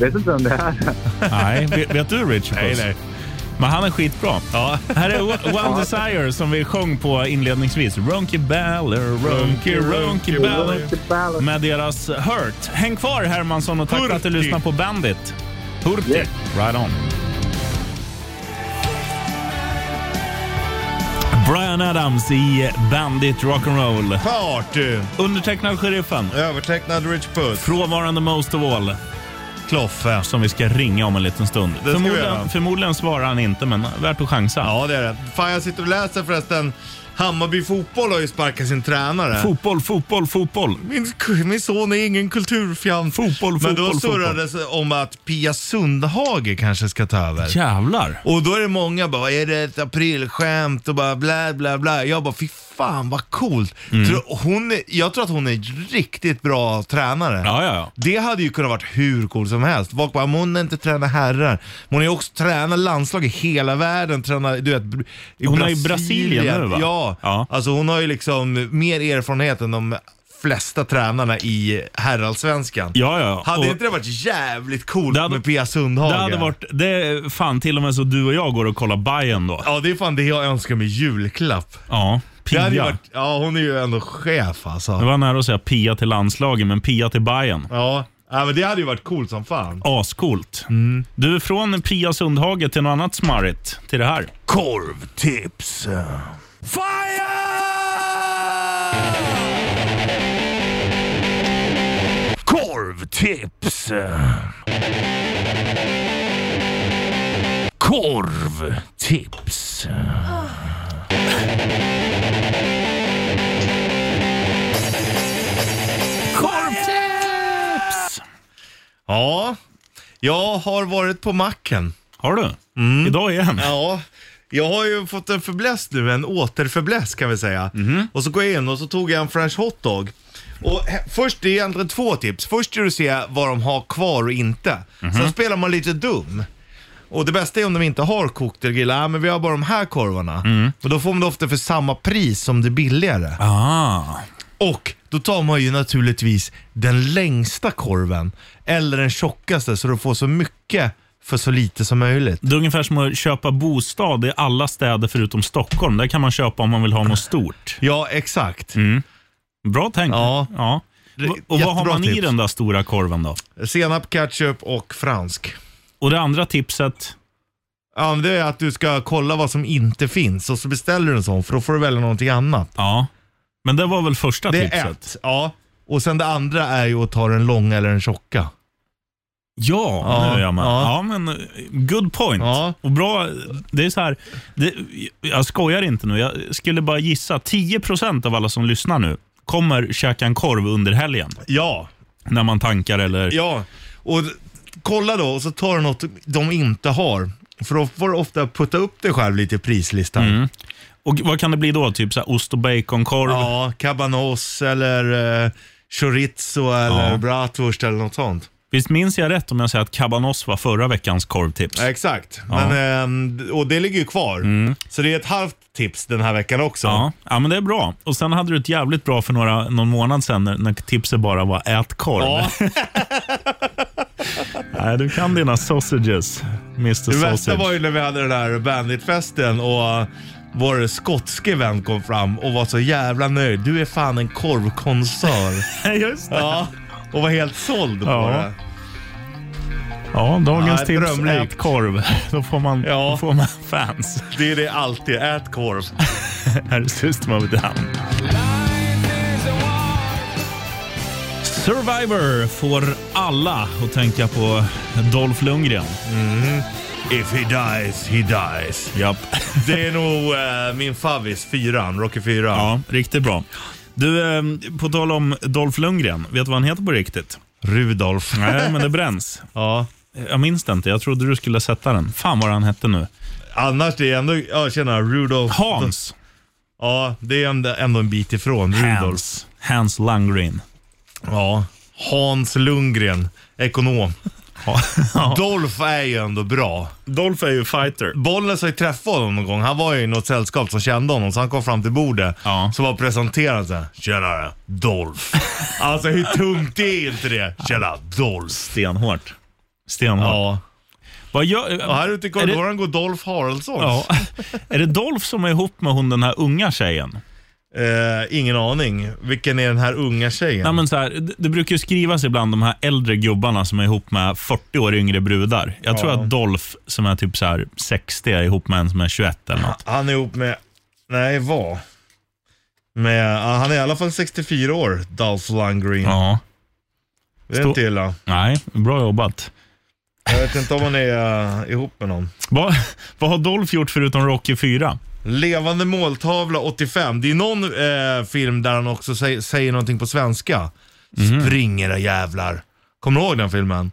Vet inte vem det är.
Nej, vet, vet du Richard?
Nej, nej.
Men han är skitbra. Ja. Här är O- One Desire som vi sjöng på inledningsvis. Ronky Baller, Ronky, Ronky Baller. Med deras Hurt. Häng kvar Hermansson och tack för att du lyssnar på Bandit. Hurtig. Right on. Brian Adams i Bandit Rock'n'Roll.
Party!
Undertecknad Sheriffen.
Övertecknad Rich Puss.
Frånvarande Most of All. eh,
Kloffe.
Som vi ska ringa om en liten stund.
vi
Förmodligen,
göra.
förmodligen svarar han inte, men eh, värt att chansa.
Ja, det är det. Fan, jag sitter och läser förresten. Hammarby fotboll har ju sparkat sin tränare.
Fotboll, fotboll, fotboll.
Min, min son är ingen kulturfjant.
Fotboll,
Men då
fotboll,
surrades det om att Pia Sundhage kanske ska ta över.
Jävlar.
Och då är det många bara, är det ett aprilskämt och bara bla bla bla. Jag bara, fy fan vad coolt.
Mm.
Tror, hon är, jag tror att hon är riktigt bra tränare.
Ja, ja, ja.
Det hade ju kunnat varit hur coolt som helst. Folk bara, men hon är inte tränar herrar. Men hon är också tränar landslag i hela världen. Tränar, du vet, br- i
Hon är i Brasilien nu, va?
Ja.
Ja.
alltså hon har ju liksom mer erfarenhet än de flesta tränarna i herrallsvenskan.
Ja, ja.
Hade
Och-
inte det varit jävligt coolt med Pia Sundhage?
Det hade varit, det är fan till och med så du och jag går och kollar Bayern då.
Ja, det är fan det jag önskar mig julklapp.
Ja,
Det hade ju
Pia.
varit, ja, hon är ju ändå chef alltså.
Det var nära att säga Pia till landslaget, men Pia till Bayern.
Ja. ja, men det hade ju varit coolt som fan.
Ascoolt.
Mm.
Du, från Pia Sundhage till något annat smarrigt, till det här.
Korvtips.
Korvtips! Korvtips!
Korvtips!
Ja, jag har varit på macken.
Har du?
Mm.
Idag igen?
Ja. Jag har ju fått en förbläst nu, en återförbläst kan vi säga. Och så går jag in och så tog jag en french hotdog. Och he- först, det är egentligen två tips. Först ska du se vad de har kvar och inte. Sen spelar man lite dum. Och det bästa är om de inte har kokt eller grillat. Ja, men vi har bara de här korvarna. Och då får man det ofta för samma pris som det billigare. Och då tar man ju naturligtvis den längsta korven. Eller den tjockaste, så du får så mycket för så lite som möjligt.
Det är ungefär som att köpa bostad i alla städer förutom Stockholm. Där kan man köpa om man vill ha något stort. Mm.
Ja, exakt.
Bra tänkt. Ja.
Det-
Och vad har
jättebra
man i
tips.
den där stora korven då?
Senap, ketchup och fransk.
Och det andra tipset?
Ja, men det är att du ska kolla vad som inte finns och så beställer du en sån för då får du välja någonting annat.
Ja, men det var väl första
det Är
tipset?
ett, ja. Och sen det andra är ju att ta den långa eller den tjocka.
Ja, nu är jag med.
ja.
Ja. men eh, good point. Och bra, det är så här, det, jag skojar inte nu. Jag skulle bara gissa, 10% av alla som lyssnar nu kommer käka en korv under helgen.
Ja.
När man tankar eller...
Ja, och d- kolla då och så tar du något de inte har. För då får du ofta putta upp dig själv lite i prislistan.
Mm. Och vad kan det bli då? Typ så här ost och baconkorv?
Ja, cabanos eller eh, chorizo eller
Ja.
bratwurst eller något sånt.
Visst minns jag rätt om jag säger att cabanos var förra veckans korvtips?
Ja, exakt,
Ja. Mm.
Men, ehm, och det ligger ju kvar. Så det är ett halvt tips den här veckan också.
Ja, ja, men det är bra. Och Sen hade du ett jävligt bra för några, någon månad sedan när, när tipset bara var ät korv. Nej, du kan dina sausages, Mr
Det värsta
Sausage.
var ju när vi hade den där banditfesten och eh, vår skotske vän kom fram och var så jävla nöjd. Du är fan en korvkonsör.
Just
det. Ja, och var helt såld på
Ja.
det.
Ja, dagens
Nej,
tips,
drömlikt.
ät korv. Då får man, då får man fans.
Det är det alltid, ät korv.
Här är System of a Down. Survivor får alla att tänka på Dolph Lundgren.
If he dies, he dies.
Japp.
Det är nog eh, min favvis, fyran, Rocky 4.
Ja, riktigt bra. Du, eh, på tal om Dolph Lundgren, vet du vad han heter på riktigt?
Rudolf.
Nej, men det bränns.
ja.
Jag minns det inte. Jag trodde du skulle sätta den. Fan vad han hette nu.
Annars det är ändå, ja tjena, Rudolf.
Hans.
Ja, det är ändå, ändå en bit ifrån, Rudolf.
Hans. Hans Lundgren.
Ja, Hans Lundgren, ekonom. Dolph är ju ändå bra.
Dolph är ju fighter.
Bollnäs har ju träffat honom någon gång. Han var ju i något sällskap som kände honom, så han kom fram till bordet. Så var presenterad såhär, “Tjenare, Dolph”. alltså hur tungt är inte det? “Tjena, Dolph”.
Stenhårt. Stenhårt.
Ja.
Vad gör,
Och här ute i
är det-
korridoren går Dolph Haraldsson.
Ja. Är det Dolph som är ihop med hon den här unga tjejen?
Eh, ingen aning. Vilken är den här unga tjejen?
Nej, men så här, det, det brukar ju skrivas ibland de här äldre gubbarna som är ihop med 40 år yngre brudar. Jag tror
Ja.
att Dolph som är typ så här 60 är ihop med en som är 21 eller något.
Han är ihop med, nej vad? Med, ja, han är i alla fall 64 år, Dolph Lundgren.
Ja.
Det är inte
Stå-
illa.
Nej, bra jobbat.
Jag vet inte om han är eh, ihop med någon.
Vad, vad har Dolph gjort förutom Rocky 4?
Levande måltavla 85. Det är någon eh, film där han också säger, säger någonting på svenska. Spring era jävlar. Kommer du ihåg den filmen?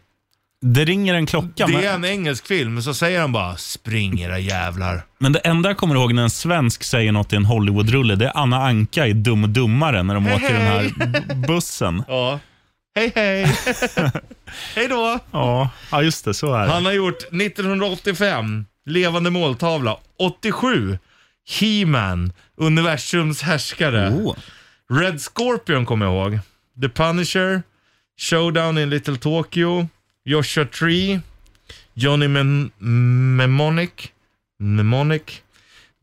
Det ringer en klocka.
det
men-
är en engelsk film, så säger han bara spring era jävlar.
Men det enda jag kommer ihåg när en svensk säger något i en Hollywoodrulle, det är Anna Anka i Dum och Dummare när de
Hej,
åker den här
hej.
b- bussen.
Ja. Hej hej. hej då.
Ja. ja, just det. Så är det.
Han har gjort 1985, Levande måltavla. 87, He-Man, Universums härskare.
Oh.
Red Scorpion kommer jag ihåg. The Punisher, Showdown in Little Tokyo, Joshua Tree, Johnny Mem- Mnemonic, Mnemonic.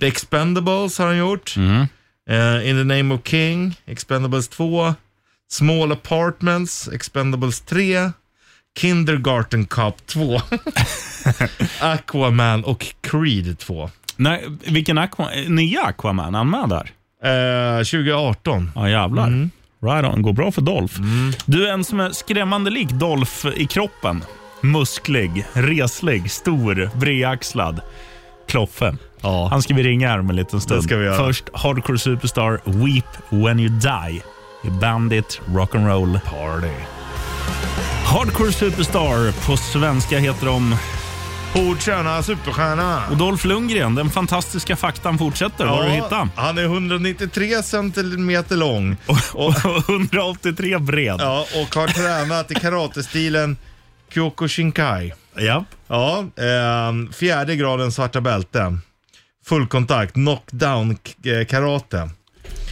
The Expendables har han gjort. Eh, in the name of King, Expendables 2, Small Apartments, Expendables 3, Kindergarten Cop 2, Aquaman och Creed 2.
Nej, vilken Aqua, eh, nya Aquaman? Han med där?
Eh, 2018.
Ja, jävlar.
Mm.
Right on. Går bra för Dolph. Du, en som är skrämmande lik Dolph i kroppen. Musklig, reslig, stor, bredaxlad. Kloffe. Han ska vi ringa här om en liten stund.
Det ska vi göra.
Först Hardcore Superstar Weep When You Die i Bandit Rock'n'Roll Party. Hardcore Superstar, på svenska heter de...
Hårdstjärna, superstjärna.
Och Dolph Lundgren, den fantastiska faktan fortsätter. Vad har du
Ja,
hittat?
Han är 193 centimeter lång.
Och 183 bred.
Ja, och har tränat i karatestilen Kyoko Shinkai. Ja. Ja, ehm, fjärde graden svarta bälte. Fullkontakt, knockdown k- eh, karate.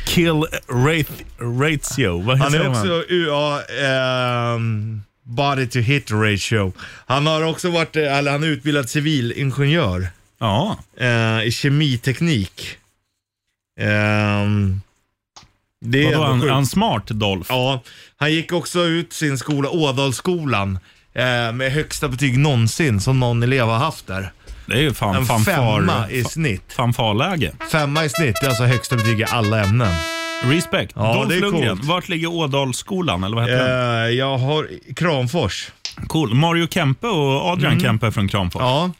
Kill rate, ratio. Vad
Han är
säger man?
också UA, ehm, body to hit ratio. Han har också varit, eh, eller han är utbildad civilingenjör. eh,
Ja.
I kemiteknik. Ehm, det
Vadå,
ändå
han-
sjukt.
han smart Dolph?
Ja, han gick också ut sin skola, Ådalsskolan, eh, med högsta betyg någonsin som någon elev har haft där.
Det är ju fan
En
fanfar-
femma i
fa-
snitt.
Fanfarläge.
Femma i snitt, det är alltså högsta betyg i alla ämnen.
Respekt.
Ja,
Dolph
det är
Lundgren.
coolt.
Vart ligger Ådalsskolan? Eller vad heter den?
Eh, jag har Kramfors.
Cool. Mario Kempe och Adrian
Mm.
Kempe från Kramfors.
Ja.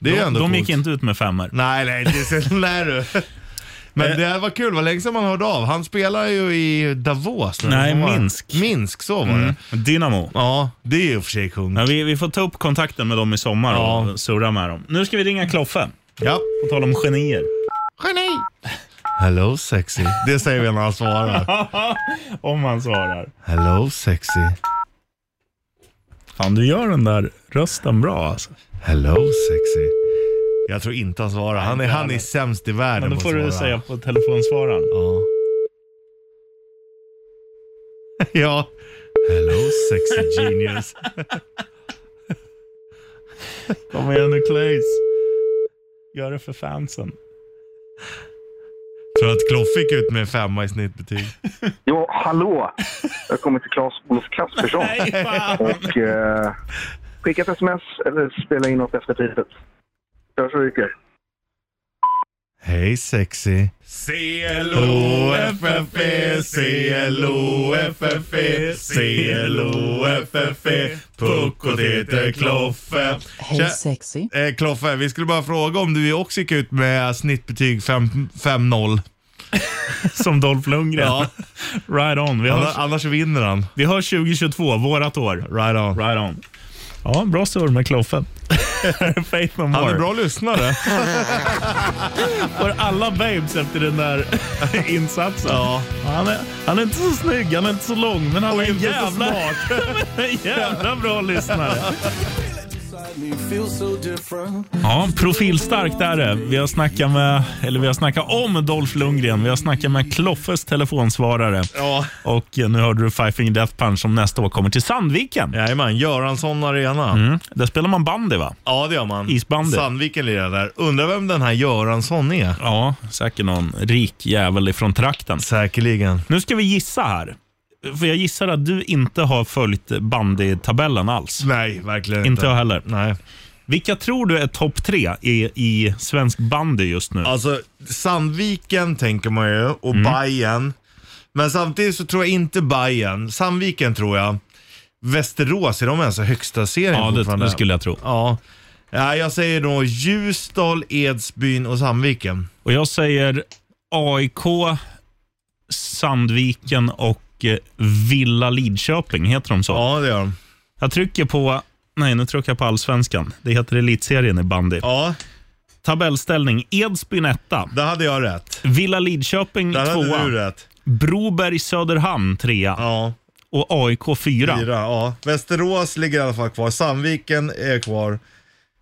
Det är
de,
ändå
De
coolt.
gick inte ut med femmor.
Nej, nej, det är lär du.
Eh.
Men det här var kul, vad länge sedan man hörde av. Han spelar ju i Davos. eller
Nej,
vad var det?
Minsk. Mm.
Minsk, så var det.
Dynamo.
Ja, det är ju för sig kung.
Ja, vi, vi får ta upp kontakten med dem i sommar och surra med dem. Nu ska vi ringa Kloffe.
Ja.
På tal om genier.
Geni! Hello sexy. Det säger vi när han svarar.
om han svarar.
Hello sexy.
Fan, du gör den där rösten bra alltså.
Hello sexy. Jag tror inte han svarar. Han är, han är sämst i världen
Men då
på
får
att
du
svara.
säga på telefonsvararen.
Ja. ja. Hello sexy genius.
Kom igen nu Claes. Gör det för fansen.
Tror du att Kloff fick ut med femma i snittbetyg?
Jo, hallå! Jag kommer till Claes-Olof Kaspersson.
Nej, fan.
och eh, skicka ett sms eller spela in något efter pipet. Hörs och ryker.
Hej sexy. E,
C-L-O-F-F-E,
E,
C-L-O-F-F-E,
E.
C-L-O-F-F-E, Puckot heter Kloffe.
Tja.
Hej sexy.
Eh, Kloffe, vi skulle bara fråga om du också gick ut med snittbetyg fem- 5-0.
Som Dolph Lundgren.
Ja.
Right on. Vi
Annars,
hörs,
annars vinner han.
vi hörs 2022, vårat år.
Right on.
Right on. Ja, bra surr med Kloffe. Faith no more.
Han är bra lyssnare.
Får alla babes efter den där insatsen.
Ja.
Han, är, han är inte så snygg, han är inte så lång, men han
Och
är en
inte så
jävla, en jävla bra lyssnare. Ja, profilstarkt är det. Vi har snackat med, eller vi har snackat om Dolph Lundgren. Vi har snackat med Kloffes telefonsvarare.
Ja.
Och eh, nu hörde du Five Finger Death Punch som nästa år kommer till Sandviken.
Jajamän, Göransson Arena.
Mm. Där spelar man bandy va?
Ja, det gör man.
Isbandy.
Sandviken lirar där. Undrar vem den här Göransson är?
Ja, säkert någon rik jävel ifrån trakten.
Säkerligen.
Nu ska vi gissa här. För jag gissar att du inte har följt bandytabellen alls.
Nej, verkligen
Inte jag heller.
Nej.
Vilka tror du är topp tre i, i svensk bandy just nu?
Alltså, Sandviken tänker man ju och
Mm.
Bayern. Men samtidigt så tror jag inte Bayern. Sandviken tror jag. Västerås, är de ens i högsta serien
Ja, det,
fortfarande?
det skulle jag tro.
Ja. ja, jag säger då Ljusdal, Edsbyn och Sandviken.
Och jag säger AIK, Sandviken och eh, Villa Lidköping. Heter de så?
Ja, det gör de.
Jag trycker på... Nej, nu trycker jag på allsvenskan. Det heter elitserien i bandy.
Ja,
Tabellställning. Edsbyn etta.
där hade jag rätt.
Villa Lidköping
Där hade du
tvåa.
rätt.
Broberg Söderhamn trea.
Ja,
Och AIK fyra.
fyra. Ja. Västerås ligger i alla fall kvar. Sandviken är kvar.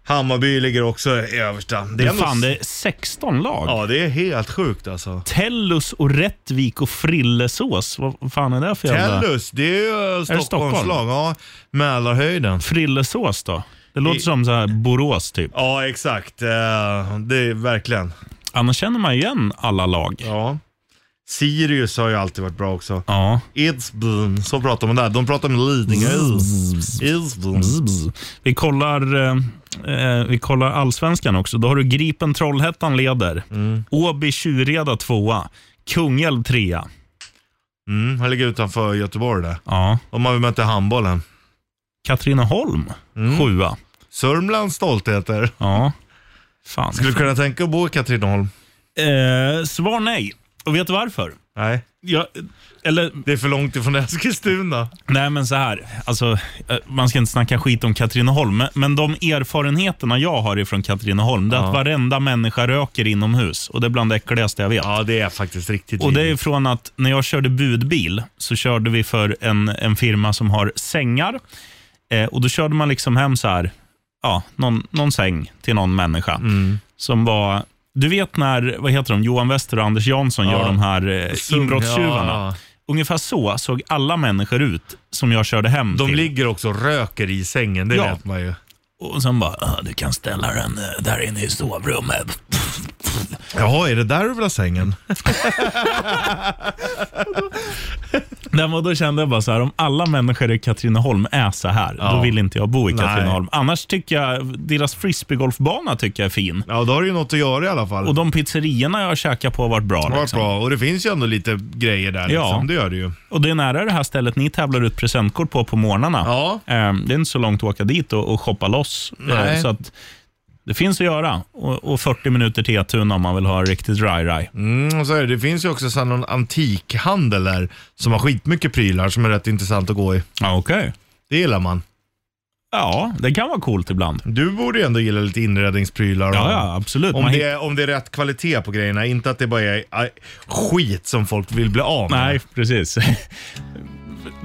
Hammarby ligger också i översta.
Det är
ändå-
fan, det är 16 lag.
Ja, det är helt sjukt alltså.
Tellus och Rättvik och Frillesås. Vad fan är det för jävla...
Tellus, det är ju
Stockholm?
Stockholmslag. Ja, Mälarhöjden.
Frillesås då? Det låter som så här Borås typ.
Ja, exakt. Eh, Det är verkligen.
Annars känner man igen alla lag.
Ja. Sirius har ju alltid varit bra också.
Ja.
Edsbyn, så pratar man där. De pratar med Lidingö. Edsbyn.
Vi kollar, eh, eh, vi kollar allsvenskan också. Då har du Gripen Trollhättan leder.
Mm.
Åby Tjureda tvåa. Kungälv trea.
Mm, han ligger utanför Göteborg där.
Ja.
Om man vill möta handbollen.
Katrineholm
Mm.
sjua.
Sörmlands stoltheter.
Ja. Fan.
Skulle du kunna tänka att bo i Katrineholm?
Eh, svar nej. Och vet du varför?
Nej.
Jag, eller
Det är för långt ifrån Eskilstuna.
Nej, men så här. Alltså, eh, man ska inte snacka skit om Katrineholm, men- men de erfarenheterna jag har ifrån Katrineholm, det är att varenda människa röker inomhus och det är bland det äckligaste jag vet.
Ja, det är faktiskt riktigt
Och det är
vidrigt.
från att när jag körde budbil så körde vi för en, en firma som har sängar Eh, och Då körde man liksom hem så här, ja, någon, någon säng till någon människa
Mm.
som var... Du vet när vad heter de, Johan Wester och Anders Jansson
Ja.
gör de här eh,
Sung-
inbrottstjuvarna.
ja.
Ungefär så såg alla människor ut som jag körde hem
De
till.
ligger också och röker i sängen, det
Ja.
vet man ju.
Och sen bara, "Ah, du kan ställa den eh, där inne i sovrummet.
Jaha, är det där du vill ha sängen?
Nej, men då kände jag bara så här, om alla människor i Katrineholm är så här, då
Ja.
vill inte jag bo i
Nej.
Katrineholm. Annars tycker jag, deras frisbeegolfbana tycker jag är fin.
Ja, då har du ju något att göra i alla fall.
Och de pizzerierna jag har käkat på har varit bra.
Det var
liksom.
bra och det finns ju ändå lite grejer där.
Ja.
Liksom. Det gör det ju.
Och det är nära det här stället ni tävlar ut presentkort på på morgnarna. Eh, Det är inte så långt att åka dit och, och shoppa loss. Eh,
Nej.
Så att det finns att göra. Och, och 40 minuter till Etuna om man vill ha riktigt raj-raj.
Mm, och så är det. det finns ju också sån någon antikhandel där som har skitmycket prylar som är rätt intressant att gå i.
Ja, Okej.
Det gillar man.
Ja, det kan vara coolt ibland.
Du borde ju ändå gilla lite inredningsprylar. och-
Ja, ja, absolut.
Om
Man
det, är, om det är rätt kvalitet på grejerna, inte att det bara är aj, skit som folk vill bli av med.
Nej, precis.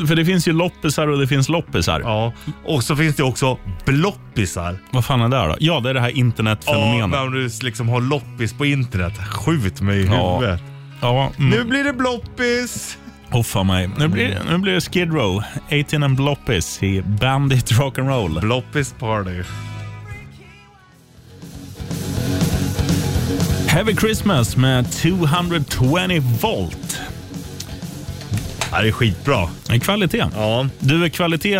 För det finns ju loppisar och det finns loppisar.
Ja, och så finns det också bloppisar.
Vad fan är det här då? Ja, det är det här
Ja,
internetfenomenet.
när du liksom har loppis på internet. Skjut mig i
Ja.
huvudet.
Ja, mm.
Nu Mm. blir det bloppis!
Hoffa mig. Nu blir, nu blir det Skid Row, 18 and Bloppis i Bandit Rock'n'Roll.
Bloppis Party.
Heavy Christmas med 220 volt.
Ja, det är skitbra.
En kvalitet.
Ja.
Du, kvalitet,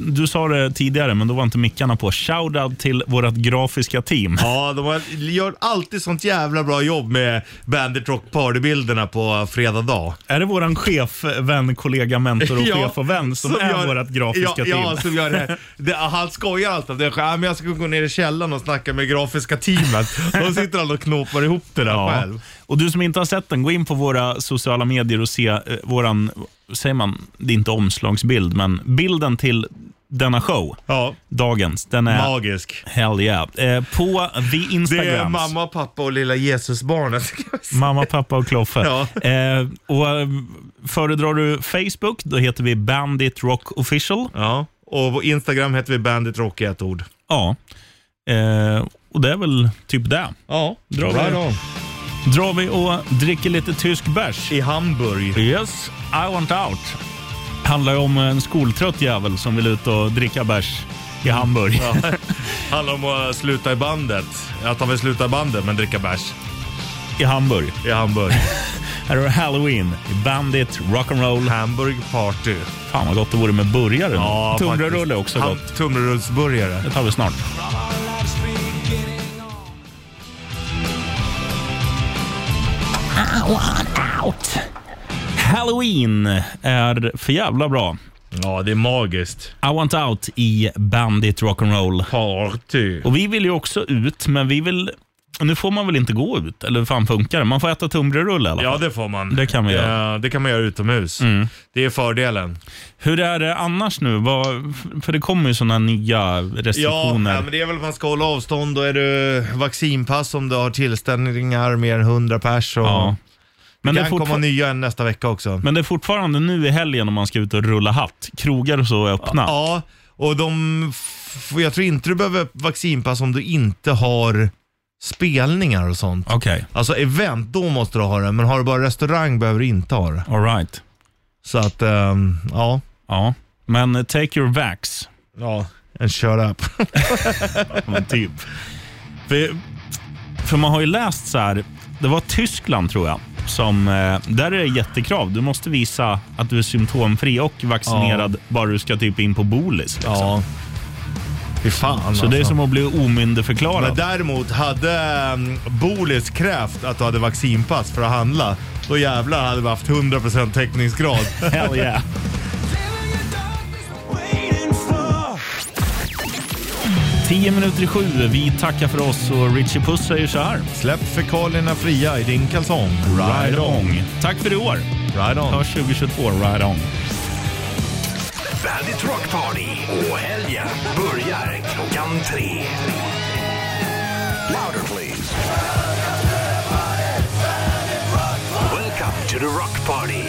du sa det tidigare, men då var inte mickarna på. Shoutout till vårt grafiska team.
Ja, de har, gör alltid sånt jävla bra jobb med Bandit Rock Party-bilderna på fredag dag.
Är det våran chef, vän, kollega, mentor och chef och vän som, är vårt grafiska
ja, alltså,
team?
Ja, som gör det. det han skojar alltid om det. Ja, men jag ska gå ner i källaren och snacka med grafiska teamet. Då sitter han och knåpar ihop det där
Ja.
själv.
Och du som inte har sett den, gå in på våra sociala medier och se eh, våran, säger man, det är inte omslagsbild, men bilden till denna show, dagens, den är...
Magisk.
Hell yeah. Eh, på the Instagrams.
Det är mamma, pappa och lilla Jesusbarnet. ska jag säga.
Mamma, pappa och Kloffe.
Ja.
Eh, och, eh, föredrar du Facebook, då heter vi Bandit Rock Official.
Ja, och på Instagram heter vi Bandit Rock i ett ord.
Ja. Eh, och det är väl typ det.
Ja,
drar
bra
vi,
då.
drar vi och dricker lite tysk bärs.
I Hamburg.
Yes, I want out. Handlar ju om en skoltrött jävel som vill ut och dricka bärs i Hamburg.
Ja. Handlar om att sluta i bandet. Att han vill sluta i bandet men dricka bärs.
I Hamburg.
I Hamburg.
Här har du Halloween, Bandit, Rock'n'Roll.
Hamburg Party.
Fan vad gott det vore med burgare. nu.
Ja,
Tunnbrödsrulle
faktiskt.
är också
Han-
gott.
Tunnbrödsburgare.
Det tar vi snart. I want out. Halloween är för jävla bra.
Ja, det är magiskt.
I want out i Bandit Rock'n'Roll.
Party.
Och vi vill ju också ut, men vi vill... Nu får man väl inte gå ut, eller hur fan funkar det? Man får äta tunnbrödsrulle i alla fall.
Ja, det får man.
Det kan man göra. Mm.
Ja, det kan man göra utomhus. Det är fördelen.
Hur är det annars nu? Vad, för det kommer ju sådana nya
Ja,
restriktioner.
nej, men det är väl att man ska hålla avstånd och är du vaccinpass om du har tillställningar mer än 100 pers. Och
Ja. Men
det
det är
kan komma
fortfar-
nya en nästa vecka också.
Men det är fortfarande nu i helgen om man ska ut och rulla hatt. Krogar och så är öppna.
Ja, och de, f- jag tror inte du behöver vaccinpass om du inte har spelningar och sånt.
Okej,
Alltså event, då måste du ha det. Men har du bara restaurang behöver du inte ha det.
all right.
Så att, ehm, ja.
Ja, men eh, take your vax.
Ja. En shut up.
Men typ. För, för man har ju läst så här, det var Tyskland tror jag, som, eh, där är det jättekrav. Du måste visa att du är symptomfri och vaccinerad bara du ska typ in på bolis. Liksom.
Ja. Fy fan
Så det är som att bli omyndigförklarad.
Men däremot, hade ehm, Bolis krävt att du hade vaccinpass för att handla, då jävlar hade vi haft 100% täckningsgrad.
Hell yeah. Tio minuter i sju, vi tackar för oss och Richie Puss säger så här.
Släpp fekalierna fria i din kalsong.
Ride on. Tack för i år.
Ride on.
Hörs 2022, ride on.
Bandit Rock Party och helgen börjar klockan tre. Louder please. Welcome to the Rock Party.